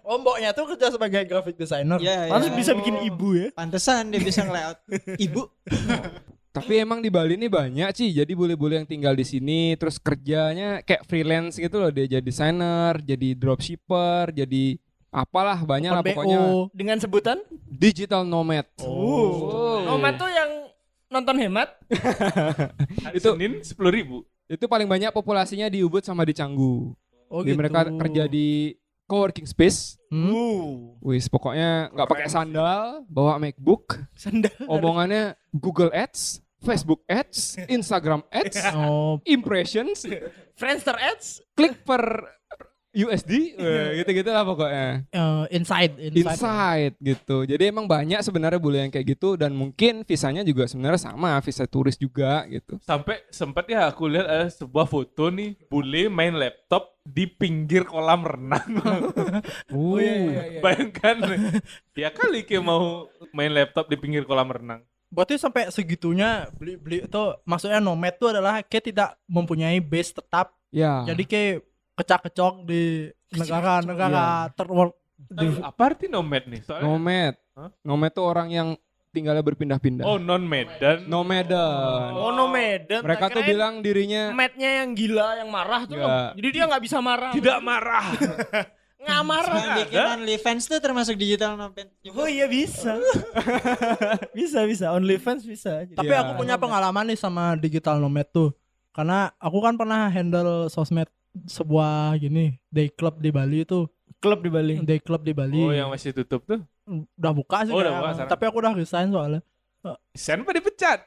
Speaker 5: omboknya Oh, tuh kerja sebagai graphic designer Oh.
Speaker 6: Ya,
Speaker 3: Langsung
Speaker 6: ya.
Speaker 3: bisa bikin ibu ya.
Speaker 6: Pantesan dia bisa ngelayout ibu.
Speaker 1: Tapi emang di Bali ini banyak sih. Jadi bule-bule yang tinggal di sini terus kerjanya kayak freelance gitu loh. Dia jadi desainer, jadi dropshipper, jadi apalah banyak lah
Speaker 5: Open
Speaker 1: pokoknya.
Speaker 5: BO.
Speaker 3: Dengan sebutan?
Speaker 1: Digital nomad.
Speaker 3: Oh. Oma tuh yang nonton hemat.
Speaker 4: itu Senin 10 ribu.
Speaker 1: Itu paling banyak populasinya di Ubud sama di Canggu.
Speaker 5: Oh,
Speaker 1: Jadi
Speaker 5: gitu.
Speaker 1: mereka kerja di coworking space.
Speaker 5: Hmm?
Speaker 1: Wis pokoknya nggak pakai sandal, bawa
Speaker 5: <laughs>
Speaker 1: MacBook,
Speaker 3: Sandal.
Speaker 1: omongannya Google Ads, Facebook Ads, Instagram
Speaker 5: <laughs>
Speaker 1: Ads,
Speaker 5: Oh,
Speaker 1: impressions,
Speaker 3: Friendster ads.
Speaker 1: klik per
Speaker 5: <laughs>
Speaker 1: USD, eh, gitu-gitu lah pokoknya.
Speaker 5: eh, inside, inside.
Speaker 1: Inside gitu. Jadi emang banyak sebenarnya bule yang kayak gitu dan mungkin visanya juga sebenarnya sama, visa turis juga gitu.
Speaker 4: Sampai sempat ya aku lihat ada sebuah foto nih bule main laptop di pinggir kolam renang.
Speaker 1: Oh,
Speaker 3: iya,
Speaker 5: Iya,
Speaker 4: <laughs> Bayangkan. ya kali ke mau main laptop di pinggir kolam renang.
Speaker 5: Berarti sampai segitunya beli beli itu maksudnya nomad tuh adalah kayak tidak mempunyai base tetap.
Speaker 1: Ya.
Speaker 5: Jadi kayak kecak-kecok di negara-negara terwor
Speaker 4: Tapi apa arti nomad nih? Soalnya
Speaker 1: nomad.
Speaker 4: Hah?
Speaker 1: Nomad tuh orang yang tinggalnya berpindah-pindah.
Speaker 4: oh non Medan.
Speaker 1: Nomaden.
Speaker 3: Oh, no Medan.
Speaker 1: Mereka tuh
Speaker 3: Kirain
Speaker 1: bilang dirinya
Speaker 3: matnya yang gila, yang marah tuh.
Speaker 1: Nggak.
Speaker 3: Jadi dia nggak bisa marah.
Speaker 4: Tidak marah.
Speaker 3: Nggak marah.
Speaker 6: Yang bikin OnlyFans tuh termasuk digital nomad.
Speaker 3: Oh iya bisa. bisa bisa OnlyFans bisa. Jadi-
Speaker 4: iya.
Speaker 5: Tapi aku punya pengalaman nih sama digital nomad tuh. Karena aku kan pernah handle sosmed sebuah gini day club di Bali itu
Speaker 3: klub di Bali.
Speaker 5: day club di Bali
Speaker 4: oh yang masih tutup tuh.
Speaker 5: udah buka sih
Speaker 4: Oh, udah
Speaker 5: kayak-
Speaker 4: buka sekarang.
Speaker 5: tapi aku udah resign soalnya
Speaker 4: Sen apa dipecat?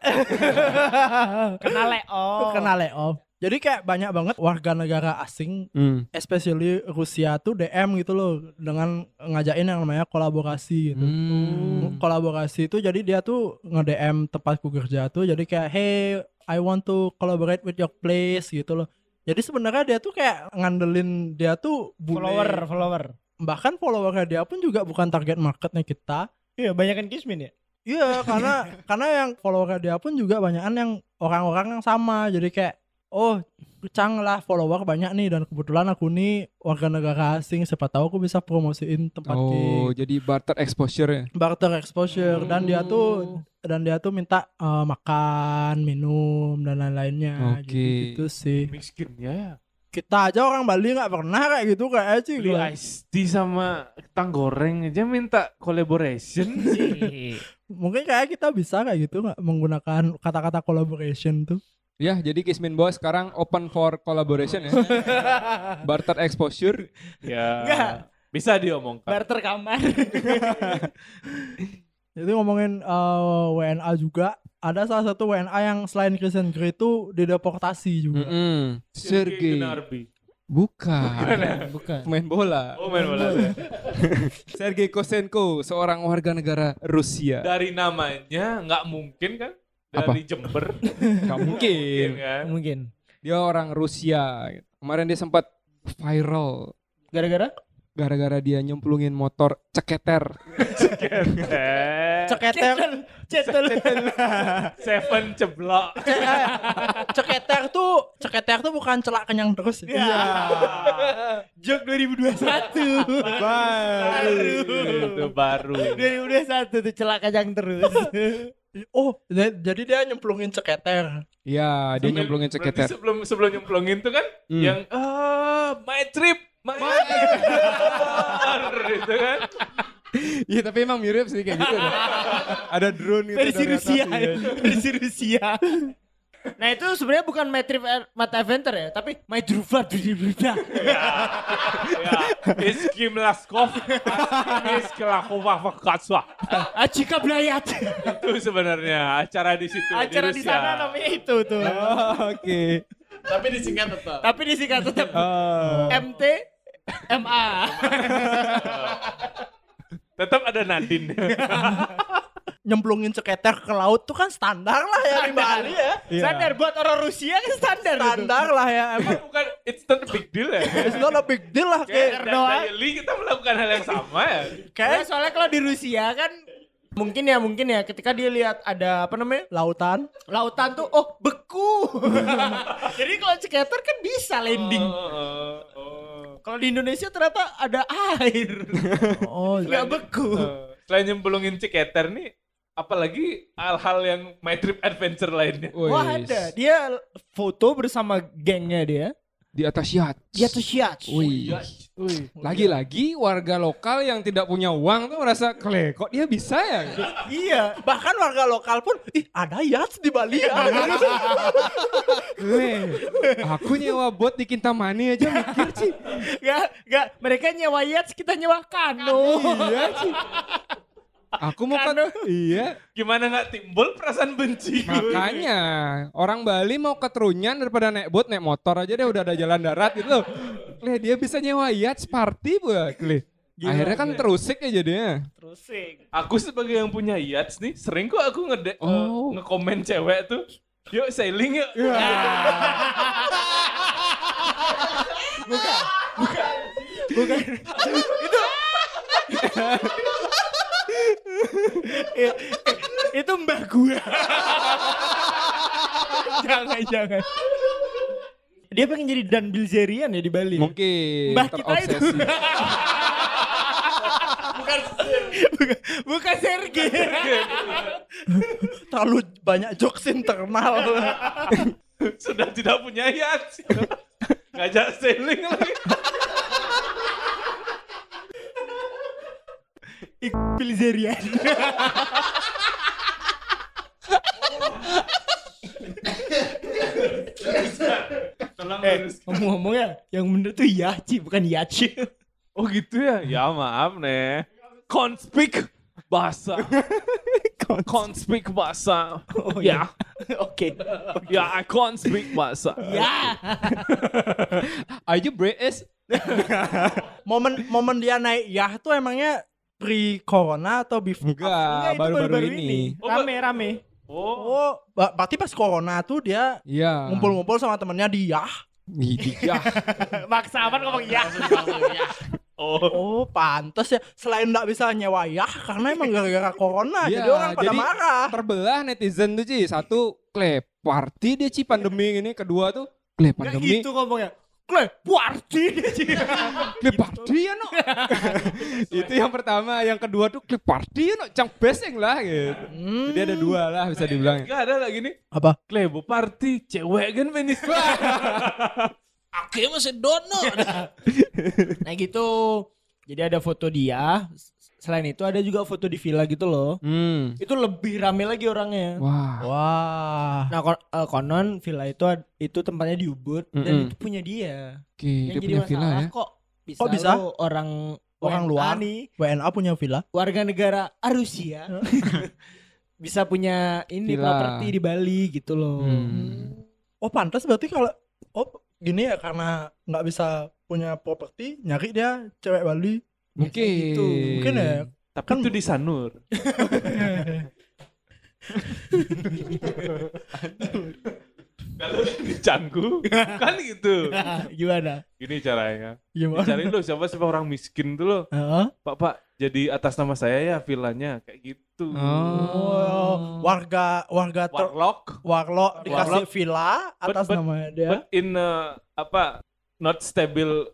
Speaker 3: Kena
Speaker 4: Oh.
Speaker 3: leo.
Speaker 5: kena layoff jadi kayak banyak banget warga negara asing
Speaker 1: Hmm.
Speaker 5: especially Rusia tuh DM gitu loh dengan ngajain yang namanya
Speaker 1: Hmm.
Speaker 5: kolaborasi gitu.
Speaker 3: Hmm.
Speaker 5: Kolaborasi itu jadi dia tuh nge-DM tempatku kerja tuh jadi kayak hey I want to collaborate with your place gitu loh. Jadi sebenarnya dia tuh kayak ngandelin dia tuh bule.
Speaker 3: follower follower.
Speaker 5: bahkan followernya dia pun juga bukan target marketnya kita.
Speaker 3: Iya banyakan kismin ya.
Speaker 5: Iya karena
Speaker 3: <laughs>
Speaker 5: karena yang followernya dia pun juga banyakan yang orang-orang yang sama jadi kayak oh Cang lah follower banyak nih dan kebetulan aku nih warga negara asing siapa tahu aku bisa promosiin tempat
Speaker 1: Oh,
Speaker 5: di
Speaker 1: jadi barter exposure ya.
Speaker 5: barter exposure dan dia
Speaker 3: Hmm.
Speaker 5: tuh dan dia tuh minta eh, makan minum dan lain-lainnya
Speaker 1: Oke.
Speaker 5: gitu, sih
Speaker 4: Miskin Eh, ya.
Speaker 5: kita aja orang Bali nggak pernah kayak gitu kayak sih
Speaker 4: Beli
Speaker 1: Iya.
Speaker 5: gua.
Speaker 4: ice tea sama ketang goreng aja minta <laughs> collaboration. Iya.
Speaker 5: mungkin kayak kita bisa kayak gitu nggak menggunakan kata-kata collaboration tuh
Speaker 1: Ya, jadi Kismin Boy sekarang open for collaboration ya. Barter exposure.
Speaker 4: ya.
Speaker 3: Enggak.
Speaker 4: Bisa diomongkan.
Speaker 5: <laughs>
Speaker 3: barter kamar
Speaker 5: jadi ngomongin eh, WNA juga ada salah satu WNA yang selain Kristen Grey itu dideportasi
Speaker 1: Hmm.
Speaker 5: juga
Speaker 1: Mm-mm. Sergei.
Speaker 4: Gnarbi.
Speaker 1: Bukan.
Speaker 7: Bukan.
Speaker 1: Pemain bola.
Speaker 4: Oh main bola.
Speaker 1: Sergei Kosenko, seorang warga negara Rusia.
Speaker 4: Dari namanya nggak mungkin kan? Dari Jember.
Speaker 1: Gak
Speaker 4: Mungkin
Speaker 1: mungkin.
Speaker 4: kan?
Speaker 3: mungkin
Speaker 1: Dia orang Rusia. Kemarin dia sempat viral
Speaker 3: gara-gara
Speaker 1: gara-gara dia nyemplungin motor ceketer.
Speaker 4: Eh,
Speaker 5: ceketer
Speaker 3: cetel
Speaker 4: Seven ceblok.
Speaker 5: ceketer tuh ceketer tuh bukan celak kenyang terus ya.
Speaker 3: Iya.
Speaker 4: <laughs>
Speaker 3: jok 2021
Speaker 4: baru. Itu baru.
Speaker 3: dari udah satu tuh celaka jang terus
Speaker 5: <laughs> oh jadi jadi dia nyemplungin ceketer
Speaker 1: Ya, dia
Speaker 4: Sambil-
Speaker 1: nyemplungin
Speaker 4: berarti
Speaker 1: ceketer.
Speaker 4: Sebelum sebelum nyemplungin tuh kan
Speaker 1: Hmm.
Speaker 4: yang ah my trip my, trip itu kan.
Speaker 1: Iya, tapi emang mirip sih kayak gitu. deh. Ada drone gitu.
Speaker 3: versi
Speaker 1: dari atas
Speaker 3: Rusia
Speaker 1: juga.
Speaker 5: ya.
Speaker 3: versi Rusia nah itu sebenarnya bukan Matrix Mat Adventure ya tapi My Druva
Speaker 5: Iya.
Speaker 4: Ya, Iskim Laskov, Iskim Lakova Vakatswa.
Speaker 3: Ajika Blayat
Speaker 5: Iya,
Speaker 4: Itu sebenarnya acara di situ.
Speaker 3: <laughs> acara di
Speaker 4: Rusia.
Speaker 3: sana namanya itu tuh
Speaker 5: Iya,
Speaker 1: Oke.
Speaker 7: Tapi disingkat tetap.
Speaker 3: tapi disingkat tetap
Speaker 5: Oh.
Speaker 3: MT MA
Speaker 4: Tetap ada Nadine.
Speaker 5: <laughs> nyemplungin ceketer ke laut tuh kan standar lah ya di Bali ya
Speaker 3: standar buat orang Rusia kan standar itu.
Speaker 5: standar lah ya emang
Speaker 4: Bukan it's not a big deal ya.
Speaker 5: it's not a big deal lah kayak
Speaker 4: Kayak dan Daily kita melakukan hal yang sama ya.
Speaker 3: Ya, soalnya kalau di Rusia kan mungkin ya mungkin ya ketika dia lihat ada apa namanya
Speaker 5: lautan
Speaker 3: lautan tuh oh beku <laughs> jadi kalau skater kan bisa landing
Speaker 4: Oh, oh, oh.
Speaker 3: kalau di Indonesia ternyata ada air
Speaker 5: oh
Speaker 3: nggak beku
Speaker 4: Eh, Selain nyemplungin ceketer nih, apalagi hal-hal yang my trip adventure lainnya.
Speaker 1: Oh,
Speaker 3: wah
Speaker 1: Wis.
Speaker 3: ada dia foto bersama gengnya dia
Speaker 1: Di atas yacht.
Speaker 3: dia tuh siats
Speaker 1: Wih. Lagi-lagi warga lokal yang tidak punya uang tuh merasa kle kok dia bisa ya?
Speaker 3: iya
Speaker 5: bahkan warga lokal pun ih ada yacht di Bali ya
Speaker 1: Kle. Aku nyewa bot di Kintamani aja mikir sih.
Speaker 3: nggak nggak mereka nyewa yachts kita nyewa kano
Speaker 1: Iya sih. Aku mau kan iya
Speaker 4: Gimana nggak timbul perasaan benci?
Speaker 1: makanya orang Bali mau keterunyan daripada naik bot naik motor aja deh udah ada jalan darat gitu loh. Kle dia bisa nyewa yacht party buat kle. Akhirnya kan terusik ya jadinya.
Speaker 3: terus sih
Speaker 4: Aku sebagai yang punya yachts nih, sering kok aku ngede eh,
Speaker 1: Oh.
Speaker 4: ngekomen cewek tuh. Yuk sailing yuk.
Speaker 3: Iya. itu mbah gua <laughs> jangan jangan dia pengen jadi Dan Bilzerian ya di Bali ya?
Speaker 1: Mungkin
Speaker 3: Mbah kita itu.
Speaker 1: terobsesi.
Speaker 3: bukan bukan Sergei
Speaker 5: terlalu banyak jokes internal
Speaker 4: <laughs> Sudah tidak punya yachts. <laughs> Ngajak sailing lagi.
Speaker 3: <laughs> Bilzerian
Speaker 4: Tolong lurus.
Speaker 3: Eh, ngomong-ngomong ya yang bener tuh Yachi bukan Yachi
Speaker 4: Oh gitu ya? Ya maaf nih. Konspik bahasa. Konspik bahasa.
Speaker 3: Oh,
Speaker 4: ya.
Speaker 3: oke
Speaker 4: Ya, I can't speak bahasa.
Speaker 3: ya
Speaker 1: Are you British?
Speaker 5: momen momen dia naik yacht tuh emangnya pre corona atau before
Speaker 1: Enggak, baru-baru ini.
Speaker 3: rame rame
Speaker 4: Oh,
Speaker 5: oh ba- berarti pas corona tuh dia
Speaker 1: Iya.
Speaker 5: ngumpul-ngumpul sama temennya di yacht
Speaker 1: Iya.
Speaker 3: maksa amat ngomong ya
Speaker 4: oh.
Speaker 5: oh pantes ya selain nggak bisa nyewa yacht karena emang gara-gara corona
Speaker 1: Iya,
Speaker 5: jadi orang pada
Speaker 1: jadi-
Speaker 5: marah
Speaker 1: Terbelah netizen tuh Ci. Satu, klep party dia Ci pandemi
Speaker 5: Iya.
Speaker 1: ini. Kedua tuh, klep
Speaker 3: nggak
Speaker 1: pandemi.
Speaker 3: gitu ngomongnya Kle, party
Speaker 1: Klep
Speaker 5: gitu.
Speaker 1: party ya no. <laughs> Itu yang pertama. Yang kedua tuh klep party ya no. Cang beseng lah gitu.
Speaker 5: Hmm.
Speaker 1: Jadi ada dua lah bisa dibilang. ya.
Speaker 4: Gak ada lagi nih.
Speaker 5: apa
Speaker 4: Klebo party, cewek kan penis.
Speaker 7: Akhirnya masih dono.
Speaker 3: Nah gitu. Jadi ada foto dia. Selain itu ada juga foto di villa gitu loh.
Speaker 1: Hmm.
Speaker 3: Itu lebih rame lagi orangnya.
Speaker 1: Wah.
Speaker 5: Wah.
Speaker 3: Nah kon- eh, konon villa itu ad- itu tempatnya di Ubud dan
Speaker 1: Mm-mm.
Speaker 3: itu punya dia.
Speaker 1: Oke,
Speaker 3: Yang
Speaker 1: dia
Speaker 3: jadi
Speaker 1: punya villa
Speaker 3: masalah
Speaker 1: ya.
Speaker 3: kok bisa,
Speaker 5: Oh, bisa?
Speaker 3: lu orang
Speaker 5: Orang
Speaker 3: WNA
Speaker 5: luar.
Speaker 3: nih,
Speaker 5: WNA punya villa.
Speaker 3: warga negara Rusia
Speaker 5: <laughs>
Speaker 3: bisa punya ini
Speaker 1: Villa.
Speaker 3: properti di Bali gitu loh.
Speaker 1: Hmm.
Speaker 5: Oh pantas berarti kalau oh gini ya karena nggak bisa punya properti nyari dia cewek Bali.
Speaker 1: Mungkin.
Speaker 3: gitu.
Speaker 5: Ya, Mungkin ya.
Speaker 4: <laughs> Tapi
Speaker 5: Kan-
Speaker 4: itu di Sanur. <laughs> Kalau di
Speaker 5: <laughs>
Speaker 4: Canggu kan gitu.
Speaker 3: Gimana?
Speaker 4: Gini caranya.
Speaker 5: Gimana?
Speaker 4: Dicari lu siapa siapa orang miskin tuh lo.
Speaker 5: Heeh.
Speaker 4: Pak Pak jadi atas nama saya ya villanya kayak gitu.
Speaker 5: Oh, warga warga ter-
Speaker 4: Warlock
Speaker 5: warlock dikasih villa
Speaker 4: But-
Speaker 5: atas
Speaker 4: but-
Speaker 5: nama dia. Eh,
Speaker 4: but in uh, apa not stable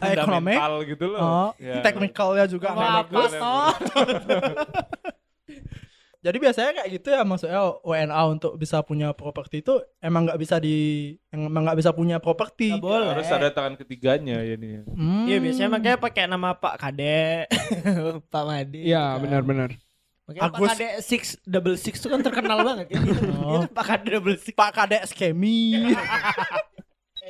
Speaker 5: Ekonomi?
Speaker 4: fundamental gitu loh.
Speaker 5: Oh,
Speaker 4: Ya.
Speaker 5: technicalnya juga nggak
Speaker 4: Wah,
Speaker 5: bagus.
Speaker 4: apa
Speaker 5: Jadi biasanya kayak gitu ya maksudnya WNA untuk bisa punya properti itu emang nggak bisa di emang nggak bisa punya properti.
Speaker 3: Nggak boleh.
Speaker 4: Harus ada tangan ketiganya ya nih.
Speaker 5: Hmm.
Speaker 3: Iya biasanya makanya pakai nama Pak Kade, <laughs> Pak
Speaker 5: Gitu
Speaker 3: Madi.
Speaker 1: Iya,
Speaker 5: kan.
Speaker 1: benar-benar.
Speaker 3: Makanya
Speaker 5: Agus-
Speaker 3: Pak Kade Six Double Six itu kan <laughs> terkenal banget. Kan? Itu Pak Kade Double Six.
Speaker 5: Pak Kadek
Speaker 3: <laughs>
Speaker 5: skemi.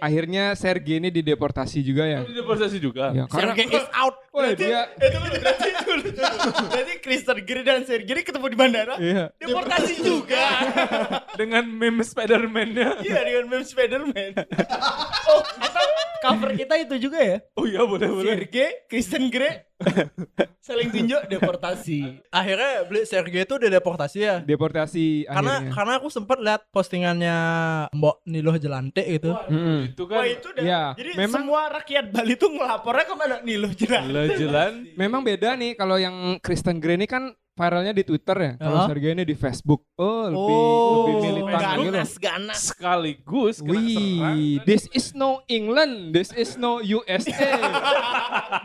Speaker 1: Akhirnya Sergei ini dideportasi juga ya.
Speaker 5: Iya.
Speaker 4: Itu deportasi juga.
Speaker 1: Ya, karena
Speaker 3: Sergei is out.
Speaker 1: Woi, dia
Speaker 3: Itu berarti itu. Berarti Kristen Giri dan Sergei ketemu di bandara.
Speaker 1: iya.
Speaker 3: Deportasi juga.
Speaker 4: Dengan meme Spider-Man-nya.
Speaker 3: Iya dengan meme Spiderman. oh, atau cover kita itu juga ya.
Speaker 4: Oh iya boleh boleh.
Speaker 3: Sergei, Kristen Gere, saling tunjuk deportasi.
Speaker 5: Akhirnya beli Sergei itu dideportasi ya.
Speaker 1: Deportasi
Speaker 5: karena
Speaker 1: akhirnya.
Speaker 5: karena aku sempat lihat postingannya Mbok Niloh Jelante gitu.
Speaker 1: Mm-mm.
Speaker 4: Itu
Speaker 3: Wah
Speaker 4: kan
Speaker 3: itu udah.
Speaker 1: Iya,
Speaker 3: Jadi
Speaker 1: memang-
Speaker 3: semua rakyat Bali tuh ngelapornya kemana nih lo jelas.
Speaker 4: Lejelan
Speaker 1: Memang beda nih kalau yang Kristen Grey ini kan viralnya di Twitter ya. Kalau
Speaker 5: Heeh.
Speaker 1: Sergei ini di Facebook. Oh, lebih lebih militan gitu.
Speaker 3: ganas, ganas.
Speaker 4: sekaligus kena serang.
Speaker 1: Wih,
Speaker 4: kan.
Speaker 1: this is no England, this is no USA,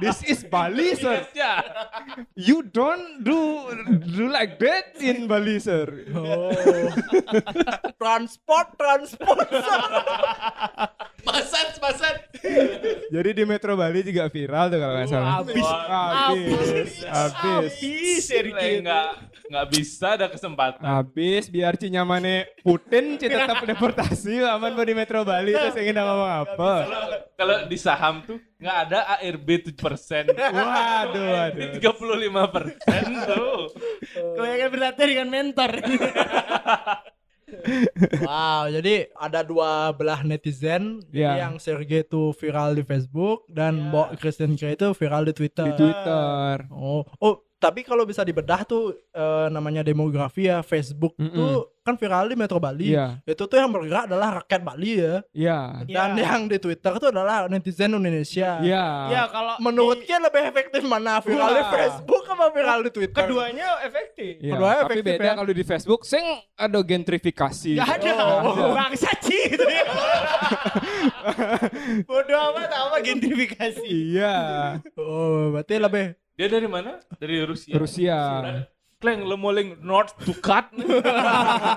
Speaker 1: this is Bali, sir.
Speaker 4: Ya.
Speaker 1: You don't do do like that in Bali, sir.
Speaker 5: transport transport.
Speaker 7: Masan, masan.
Speaker 1: Jadi di Metro Bali juga viral tuh kalau nggak salah.
Speaker 3: Habis.
Speaker 1: Habis, habis,
Speaker 3: Ih,
Speaker 4: Lah,
Speaker 3: Sergei.
Speaker 4: nggak nggak bisa ada kesempatan.
Speaker 1: habis. Biar cinyamane Putin ci tetap deportasi aman bu di Metro Bali. Terus ingin ngomong apa?
Speaker 4: Kalau- Kalau di saham tuh nggak ada ARB 7 persen.
Speaker 1: Waduh, waduh.
Speaker 4: 35 persen tuh.
Speaker 3: Kebanyakan berlatih dengan mentor.
Speaker 5: wow, jadi ada dua belah netizen Jadi
Speaker 1: Iya.
Speaker 5: yang Sergei itu viral di Facebook dan Mbok Kristen Grey itu viral di Twitter.
Speaker 1: Di Twitter.
Speaker 5: Oh, oh tapi kalau bisa dibedah tuh eh, namanya demografi ya Facebook
Speaker 1: Mm-mm.
Speaker 5: tuh kan viral di Metro Bali.
Speaker 1: Iya,
Speaker 5: Itu tuh yang bergerak adalah rakyat Bali ya.
Speaker 1: iya,
Speaker 5: Dan
Speaker 3: Iya.
Speaker 5: yang di Twitter tuh adalah netizen Indonesia.
Speaker 1: iya.
Speaker 3: ya kalau
Speaker 5: Menurut Menurutnya lebih efektif mana viral di
Speaker 1: Wah.
Speaker 5: Facebook apa viral di Twitter?
Speaker 3: keduanya efektif.
Speaker 1: Iya,
Speaker 5: Keduanya
Speaker 1: tapi
Speaker 5: efektif
Speaker 1: beda
Speaker 5: ya.
Speaker 1: kalau di Facebook sing ada gentrifikasi.
Speaker 3: Gak ada. Oh. Bangsa Ci itu
Speaker 1: <laughs>
Speaker 3: ya. Bodoh amat apa gentrifikasi.
Speaker 1: Iya,
Speaker 5: Oh, berarti
Speaker 1: <laughs>
Speaker 5: lebih
Speaker 4: Dia dari mana? Dari Rusia.
Speaker 1: Rusia.
Speaker 4: Kleng lemoling North to cut.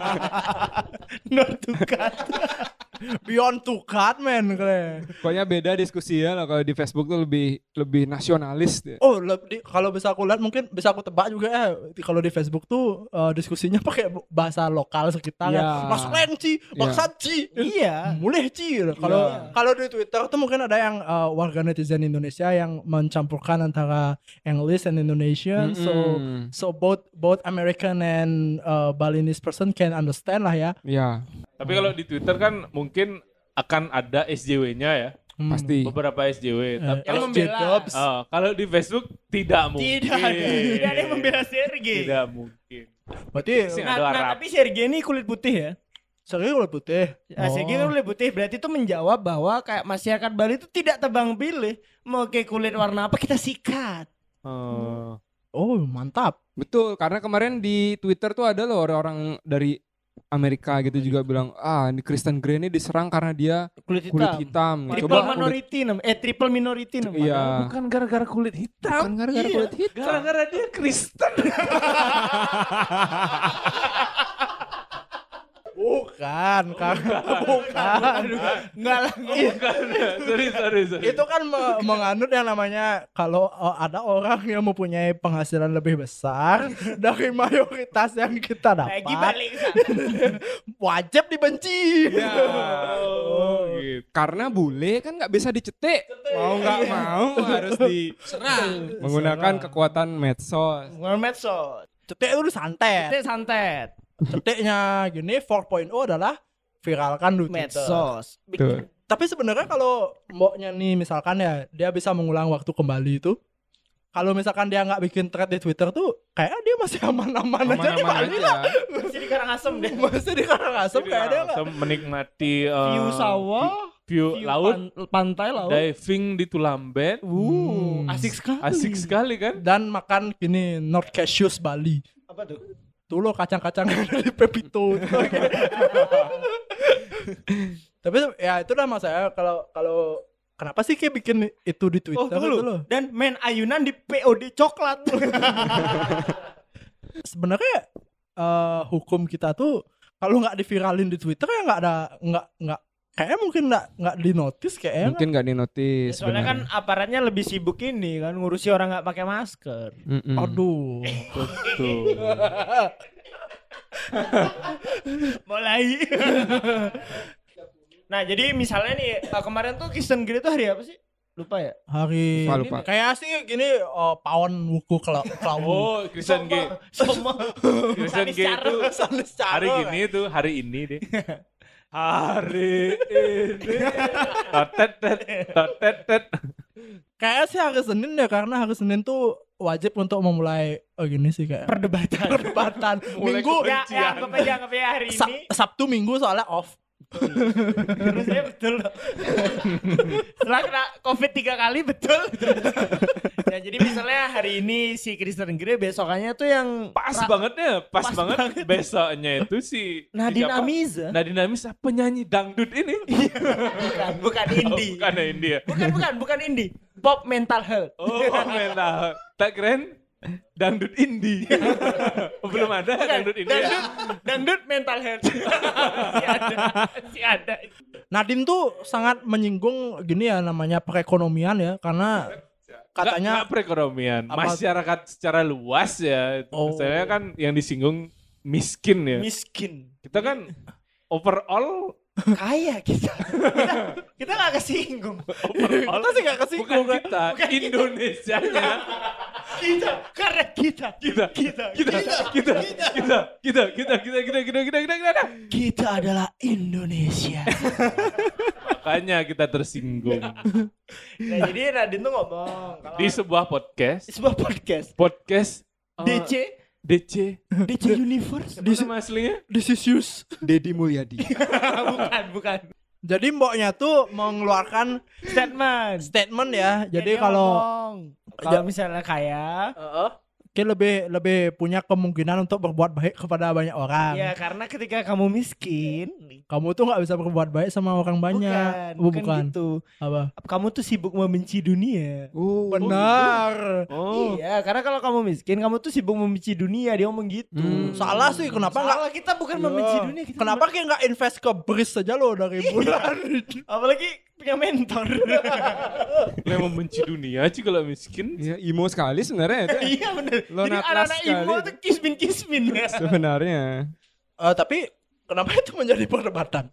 Speaker 5: <laughs> beyond to cut man keren.
Speaker 1: Pokoknya beda diskusi ya lah, kalau di Facebook tuh lebih lebih nasionalis deh.
Speaker 5: Oh, lebih kalau bisa aku lihat mungkin bisa aku tebak juga eh di- kalau di Facebook tuh eh, diskusinya <laughs> pakai bahasa lokal sekitar
Speaker 1: Iya.
Speaker 5: ya. Mas Len Ci, Baksan Ci.
Speaker 3: Iya.
Speaker 5: Mulih Ci. gitu. Kalau
Speaker 4: Iya.
Speaker 5: kalau di Twitter tuh mungkin ada yang eh, warga netizen Indonesia yang mencampurkan antara English and
Speaker 3: iya.
Speaker 5: Indonesian. So
Speaker 1: Mm-mm.
Speaker 5: so both both American and eh, Balinese person can understand lah ya.
Speaker 1: Iya,
Speaker 4: Tapi kalau di Twitter kan mungkin akan ada SJW-nya ya.
Speaker 5: Hmm.
Speaker 1: pasti.
Speaker 4: Beberapa SJW. Tapi
Speaker 5: Eh,
Speaker 4: kalau
Speaker 5: SJ Jobs.
Speaker 4: Oh, kalau di Facebook tidak mungkin.
Speaker 3: Tidak ada. Tidak ada yang membela Sergei.
Speaker 4: Tidak mungkin.
Speaker 5: Berarti
Speaker 4: Sing
Speaker 3: Nah,
Speaker 4: ada
Speaker 3: nah,
Speaker 4: Arab.
Speaker 3: tapi Sergei ini kulit putih ya.
Speaker 5: serius kulit putih.
Speaker 3: Nah, Sergei
Speaker 1: Oh.
Speaker 3: kan kulit putih berarti itu menjawab bahwa kayak masyarakat Bali itu tidak tebang pilih. Mau kayak kulit warna apa kita sikat.
Speaker 4: Oh.
Speaker 5: Oh, mantap.
Speaker 1: Betul, karena kemarin di Twitter tuh ada loh orang-orang dari Amerika gitu juga bilang, ah ini Kristen Grey ini diserang karena dia
Speaker 3: Kulit hitam.
Speaker 1: kulit hitam.
Speaker 3: Triple
Speaker 1: Coba kulit,
Speaker 3: minority nam, eh triple minority nam.
Speaker 1: iya.
Speaker 4: Bukan gara-gara kulit hitam.
Speaker 1: Bukan gara-gara kulit hitam.
Speaker 4: Gara-gara dia Kristen.
Speaker 5: Bukan, Kang. <laughs> Bukan. Enggak lah.
Speaker 4: <laughs> sorry, sorry, sorry.
Speaker 5: Itu kan me- menganut yang namanya kalau uh, ada orang yang mempunyai penghasilan lebih besar dari mayoritas yang kita
Speaker 3: Lagi
Speaker 5: dapat,
Speaker 3: balik.
Speaker 5: wajib dibenci.
Speaker 1: Iya. Oh, gitu. Ya. Karena bule kan nggak bisa dicetek. Mau nggak
Speaker 3: Iya.
Speaker 1: mau harus di
Speaker 7: Serang.
Speaker 1: menggunakan kekuatan medsos.
Speaker 3: Mermaid so.
Speaker 5: Cetek itu santet.
Speaker 3: Cetek santet.
Speaker 5: Ceteknya gini 4.0 adalah viralkan dulu Twitter.
Speaker 3: Medsos. <laughs>
Speaker 1: Tuh.
Speaker 5: Tapi sebenarnya kalau mboknya nih misalkan ya dia bisa mengulang waktu kembali itu kalau misalkan dia nggak bikin thread di Twitter tuh kayak dia masih aman-aman aja di
Speaker 1: Aman-aman
Speaker 5: Bali
Speaker 1: aja.
Speaker 5: lah.
Speaker 3: Masih di Karangasem deh.
Speaker 5: Masih di Karangasem
Speaker 4: Jadi
Speaker 5: kayak dia nggak-
Speaker 4: langsung menikmati eh,
Speaker 3: View sawah,
Speaker 4: view,
Speaker 3: view
Speaker 4: laut,
Speaker 3: pan- pantai laut.
Speaker 4: diving di Tulamben.
Speaker 3: Uh, asik sekali.
Speaker 4: Asik sekali kan?
Speaker 5: dan makan gini North Cassius Bali.
Speaker 3: Apa tuh?
Speaker 5: Tuh lo kacang-kacang dari Pepito. Itu. Tapi ya itu dah saya kalau kalau kenapa sih kayak bikin itu di Twitter
Speaker 3: Oh, tunggu
Speaker 5: itu loh.
Speaker 3: dulu. Dan main ayunan di POD coklat.
Speaker 5: Sebenarnya eh, hukum kita tuh kalau nggak diviralin di Twitter ya nggak ada nggak nggak kayaknya mungkin nggak nggak dinotis kayaknya.
Speaker 1: Mungkin nggak dinotis.
Speaker 3: Soalnya kan
Speaker 1: benar.
Speaker 3: aparatnya lebih sibuk ini kan ngurusi orang nggak pakai masker.
Speaker 1: Mm-mm.
Speaker 5: Aduh.
Speaker 4: Hmm.
Speaker 3: <laughs> Mulai. nah, jadi misalnya nih eh, kemarin tuh Kristen Grey tuh hari apa sih? Lupa ya?
Speaker 5: Hari
Speaker 1: Lupa, lupa.
Speaker 5: kayak sih gini eh, pawon wuku kalau kalau
Speaker 4: Oh, Kristen G.
Speaker 3: Semua
Speaker 4: Kristen G itu hari gini tuh, hari ini
Speaker 3: <laughs>
Speaker 4: deh. hari ini. Totet, tet, totet, tet.
Speaker 5: Kayaknya sih hari Senin ya karena hari Senin tuh wajib untuk memulai oh gini sih kayak
Speaker 3: perdebatan.
Speaker 5: perdebatan
Speaker 4: <laughs> Mulai
Speaker 5: minggu
Speaker 3: Ya, ya,
Speaker 4: Kebencian.
Speaker 3: anggap aja, anggap aja hari
Speaker 5: Sa-
Speaker 3: ini.
Speaker 5: Sabtu Minggu soalnya off.
Speaker 3: Terus saya betul. loh. Setelah kena COVID tiga kali betul. ya jadi misalnya hari ini si Kristen Grey besokannya tuh yang
Speaker 4: Pas
Speaker 3: Ra-
Speaker 4: bangetnya, pas,
Speaker 3: pas banget.
Speaker 4: banget. Besoknya itu si
Speaker 3: <laughs> Nadine Iya,
Speaker 4: siapa?
Speaker 3: Amiza.
Speaker 4: Nadine Amisa penyanyi dangdut
Speaker 3: <laughs>
Speaker 4: ini.
Speaker 3: bukan, bukan
Speaker 4: Oh,
Speaker 3: indie.
Speaker 4: bukan ya India.
Speaker 3: Bukan, bukan, bukan indie. Pop mental health.
Speaker 4: Oh, mental. Tak keren? Dangdut
Speaker 3: <laughs>
Speaker 4: indie. Belum ada dangdut ya. indie.
Speaker 3: Iya. Dangdut, dangdut mental health. si ada, si ada.
Speaker 5: Nadine tuh sangat menyinggung gini ya namanya perekonomian ya karena
Speaker 4: Nggak-
Speaker 5: katanya
Speaker 4: nggak perekonomian,
Speaker 5: Apa-
Speaker 4: masyarakat secara luas ya.
Speaker 5: Oh.
Speaker 4: Saya kan yang disinggung miskin ya.
Speaker 3: Miskin.
Speaker 4: Kita kan overall
Speaker 3: Kaya kita. Kita, kita gak kesinggung.
Speaker 5: <coughs>
Speaker 4: overall
Speaker 5: kita sih gak kasih
Speaker 4: bukan kita, Indonesia
Speaker 5: <laughs>
Speaker 4: kita.
Speaker 3: Kita, karena kita.
Speaker 4: Kita, kita, kita, kita, kita, kita, kita, kita, kita, kita, kita, kita, kita.
Speaker 3: Kita adalah Indonesia.
Speaker 4: Makanya kita tersinggung
Speaker 3: Nah, jadi Radin tuh ngomong. Kalau
Speaker 4: di sebuah podcast,
Speaker 3: sebuah podcast.
Speaker 4: podcast eh,
Speaker 3: DC,
Speaker 4: DC,
Speaker 3: DC Universe.
Speaker 4: di nama aslinya
Speaker 5: this is use.
Speaker 1: Deddy Mulyadi.
Speaker 3: bukan, bukan.
Speaker 5: Jadi mboknya tuh mengeluarkan
Speaker 3: Statement. Iya,
Speaker 5: statement ya. Jadi
Speaker 3: Dia
Speaker 5: kalau
Speaker 3: ngomong, kalau misalnya kaya,
Speaker 5: kayak lebih lebih punya kemungkinan untuk berbuat baik kepada banyak orang.
Speaker 3: ya karena ketika kamu miskin,
Speaker 5: Kamu tuh nggak bisa berbuat baik sama orang banyak. Oh,
Speaker 3: bukan, bukan gitu.
Speaker 5: Apa?
Speaker 3: Kamu tuh sibuk membenci dunia.
Speaker 1: Oh,
Speaker 5: Benar.
Speaker 4: Oh,
Speaker 3: Iya, karena kalau kamu miskin, kamu tuh sibuk membenci dunia. Dia ngomong gitu.
Speaker 1: Hmm.
Speaker 5: Salah sih kenapa nggak?
Speaker 3: Salah gitu, kita bukan membenci dunia. Kita
Speaker 5: Kenapa kayak nggak invest ke bris saja lo dari
Speaker 3: Iya.
Speaker 5: bulan?
Speaker 3: Apalagi punya mentor.
Speaker 4: yang membenci dunia sih kalau miskin.
Speaker 1: Iya, imo sekali sebenarnya itu.
Speaker 3: <laughs> iya bener.
Speaker 1: Lo
Speaker 3: Jadi
Speaker 1: natlas
Speaker 3: anak-anak
Speaker 1: sekali.
Speaker 3: imo tuh kismin-kismin.
Speaker 1: Sebenarnya.
Speaker 5: Eh, tapi kenapa itu menjadi perdebatan?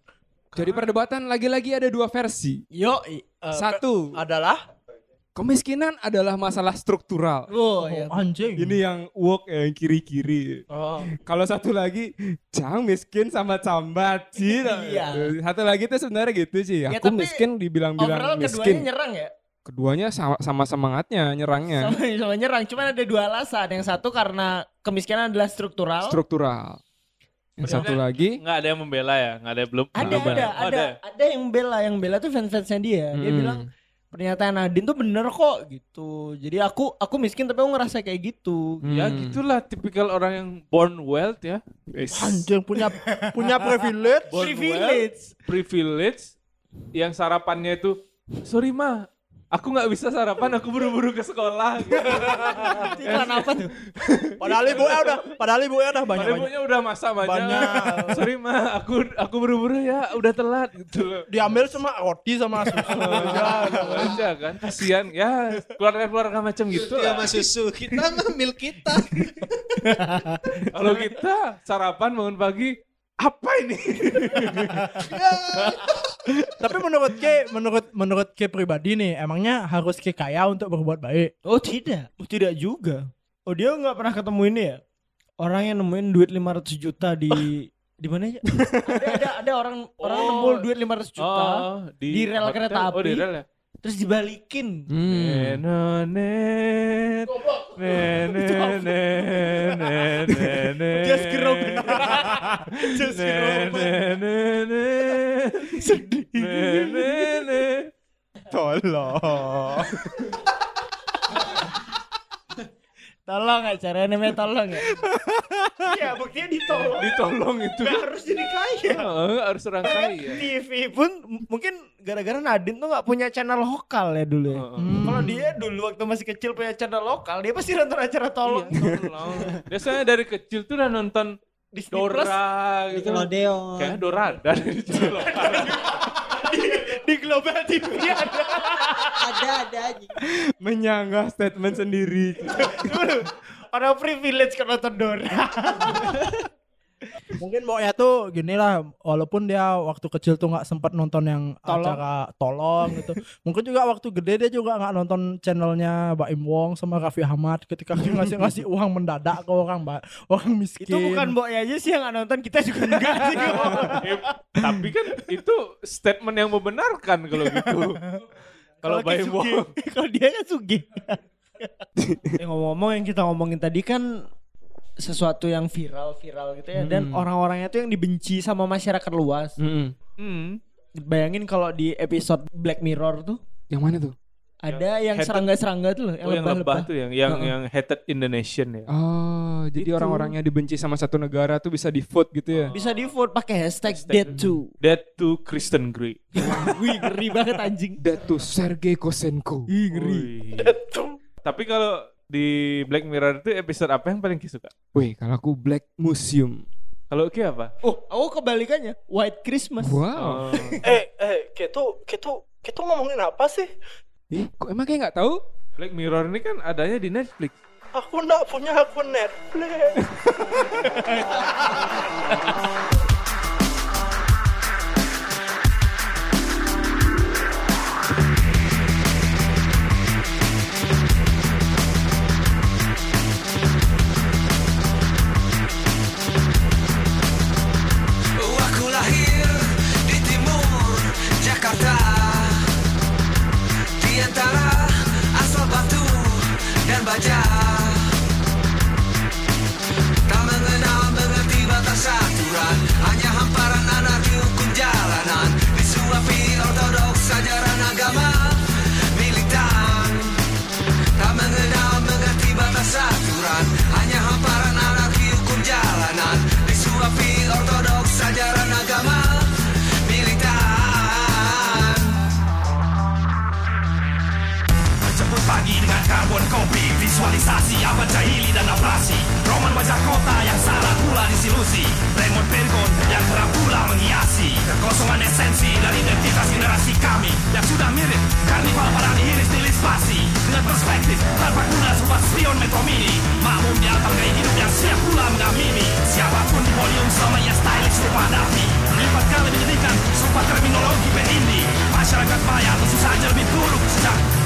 Speaker 1: Jadi perdebatan lagi-lagi ada dua versi.
Speaker 5: Yo,
Speaker 3: eh,
Speaker 1: Satu,
Speaker 5: adalah
Speaker 1: kemiskinan adalah masalah struktural.
Speaker 3: Hmm.
Speaker 5: oh, anjing.
Speaker 1: Ini yang wok yang kiri-kiri.
Speaker 3: Oh.
Speaker 1: Kalau satu lagi, cang miskin sama cambat sih.
Speaker 3: Iya.
Speaker 1: Satu lagi itu sebenarnya gitu sih.
Speaker 3: Ya,
Speaker 1: Aku
Speaker 3: tapi
Speaker 1: miskin dibilang-bilang
Speaker 3: Overall keduanya
Speaker 1: miskin.
Speaker 3: nyerang ya.
Speaker 1: Keduanya sama- sama semangatnya nyerangnya.
Speaker 3: Sama, sama nyerang. Cuman ada dua alasan. Yang satu karena kemiskinan adalah struktural.
Speaker 1: Struktural. Yang
Speaker 3: Iya.
Speaker 4: Benar.
Speaker 1: satu lagi,
Speaker 4: Nggak ada yang membela ya, nggak ada yang belum.
Speaker 3: ada,
Speaker 4: belum
Speaker 3: ada, ada,
Speaker 4: Oh,
Speaker 3: ada yang bela, yang bela tuh fans-fansnya dia. Dia
Speaker 1: Mm.
Speaker 3: bilang pernyataan Nadine tuh bener kok gitu. Jadi aku aku miskin tapi aku ngerasa kayak gitu.
Speaker 4: Ya
Speaker 1: Hmm.
Speaker 4: gitulah tipikal orang yang born wealth ya.
Speaker 5: anjing punya punya privilege.
Speaker 4: Born wealth, privilege yang sarapannya itu sorry ma Aku nggak bisa sarapan, aku buru-buru ke sekolah. <laughs>
Speaker 3: Iklan kan apa tuh?
Speaker 5: Padahal ibu ya udah, padahal ibu ya udah banyak
Speaker 4: Padahal
Speaker 5: banyak.
Speaker 4: ibunya udah masak banyak.
Speaker 5: Banyak.
Speaker 4: Sorry ma, aku aku buru-buru ya, udah telat gitu loh.
Speaker 5: Diambil sama roti sama susu.
Speaker 3: Nah.
Speaker 4: Ya, aja kan, kasihan ya keluarga-keluarga macam gitu.
Speaker 7: Dia
Speaker 3: Iya,
Speaker 4: lah.
Speaker 7: sama susu kita mah milk kita.
Speaker 4: Kalau kita sarapan bangun pagi, apa ini?
Speaker 5: Tapi menurut K, menurut menurut K pribadi nih, emangnya harus K kaya untuk berbuat baik.
Speaker 3: Oh tidak, oh, tidak juga. Oh dia nggak pernah ketemu ini ya? Oh. Orang yang nemuin duit 500 juta di di mana ya? <laughs> ada, ada ada orang orang
Speaker 4: Oh.
Speaker 3: nemu duit 500 juta, Di rel
Speaker 4: hotel.
Speaker 3: kereta
Speaker 4: Oh,
Speaker 3: api. Hmm.
Speaker 4: di rel ya.
Speaker 3: terus dibalikin.
Speaker 1: hmm.
Speaker 4: Nenonet, nenenenenenet,
Speaker 5: Oh,
Speaker 3: Just gerobak. Just gerobak.
Speaker 4: nenenenenet,
Speaker 3: Sedih.
Speaker 4: nenenenet.
Speaker 5: Tolong.
Speaker 3: Tolong acaranya namanya tolong ya.
Speaker 9: Iya, buktinya ditolong.
Speaker 4: Ditolong itu.
Speaker 9: Nggak harus jadi kaya.
Speaker 4: Heeh, Oh, harus ya. orang kaya.
Speaker 3: TV pun m- mungkin gara-gara Nadine tuh nggak punya channel lokal ya dulu. Ya.
Speaker 4: Heeh.
Speaker 3: Kalau dia dulu waktu masih kecil punya channel lokal, dia pasti nonton acara tolong.
Speaker 4: Iya. Tolong. Biasanya dari kecil tuh udah nonton
Speaker 3: Disney Plus,
Speaker 4: Dora gitu.
Speaker 6: Nickelodeon.
Speaker 4: Kayaknya Dora dari kecil loh. <laughs>
Speaker 3: di Global TV <laughs> ada.
Speaker 6: Ada ada aja.
Speaker 1: Menyanggah statement sendiri.
Speaker 3: Dulu, Orang privilege kalau nonton Dora.
Speaker 5: Mungkin pokoknya tuh gini lah, walaupun dia waktu kecil tuh nggak sempat nonton yang
Speaker 3: Tolong.
Speaker 5: acara tolong gitu. Mungkin juga waktu gede dia juga nggak nonton channelnya Baim Wong sama Raffi Ahmad ketika dia ngasih ngasih uang mendadak ke orang mbak orang miskin.
Speaker 3: Itu bukan Boy aja sih yang nggak nonton, kita juga
Speaker 4: <laughs>
Speaker 3: enggak sih.
Speaker 4: Eh, Tapi kan itu statement yang membenarkan kalau gitu. Kalau
Speaker 3: Kayak
Speaker 4: Baim
Speaker 3: Sugi.
Speaker 4: Wong.
Speaker 3: <laughs> Kalau dia kan Sugi. Eh, Ngomong-ngomong yang kita ngomongin tadi kan sesuatu yang viral-viral gitu ya dan orang-orangnya tuh yang dibenci sama masyarakat luas.
Speaker 4: Hmm.
Speaker 3: Bayangin kalau di episode Black Mirror tuh
Speaker 1: Yang mana tuh?
Speaker 3: ada yang
Speaker 4: hated.
Speaker 3: serangga-serangga tuh loh, yang
Speaker 4: Ya. Oh, yang lebah
Speaker 3: lebah-lebah.
Speaker 4: tuh yang yang
Speaker 3: Heeh.
Speaker 4: yang hated Indonesian ya.
Speaker 1: Oh, jadi
Speaker 4: Itu.
Speaker 1: orang-orang yang dibenci sama satu negara tuh bisa di vote gitu ya?
Speaker 3: Bisa di vote pakai hashtag,
Speaker 4: Hashtag.
Speaker 3: dead to.
Speaker 4: That to Kristen Grey.
Speaker 3: Wih, ngeri banget anjing.
Speaker 1: That tuh Sergei Kosenko.
Speaker 3: Iya.
Speaker 4: Wih. Tapi kalau di Black Mirror itu episode apa yang paling kisuka?
Speaker 1: Wih, kalau aku Black Museum.
Speaker 4: Kalau Ki apa?
Speaker 3: Oh, oh kebalikannya. White Christmas.
Speaker 1: Wow.
Speaker 4: Oh.
Speaker 5: Eh eh gitu gitu gitu ngomongin apa sih?
Speaker 3: Oh.
Speaker 1: Ih, kok emang kayak nggak tahu?
Speaker 4: Black Mirror ini kan adanya di Netflix.
Speaker 5: Aku nggak punya akun Netflix.
Speaker 10: Aku lahir di timur Jakarta Di antara asal batu dan baja Tak mengenal mengerti batas aturan Hanya hamparan anak dihukum jalanan Disuapi ortodoks ajaran agama militan Tak mengenal mengerti batas aturan Hanya hamparan anarki hukum jalanan Disuapi ortodoks ajaran agama militan Jemput pagi dengan karbon kopi Visualisasi abad jahili dan abrasi Roman wajah kota yang salah pula disilusi Raymond Pergon yang kerap pula menghiasi Kekosongan esensi dari identitas generasi kami Yang sudah mirip karnival para dihiris nilis pasti Dengan perspektif tanpa guna sobat spion metro mini Makmum di atas gaya hidup yang siap pula mengamini Siapapun di podium selama ia stylish rupa Davi Lipat kali menyedihkan sumpah terminologi band indie Masyarakat maya tentu saja lebih buruk sejak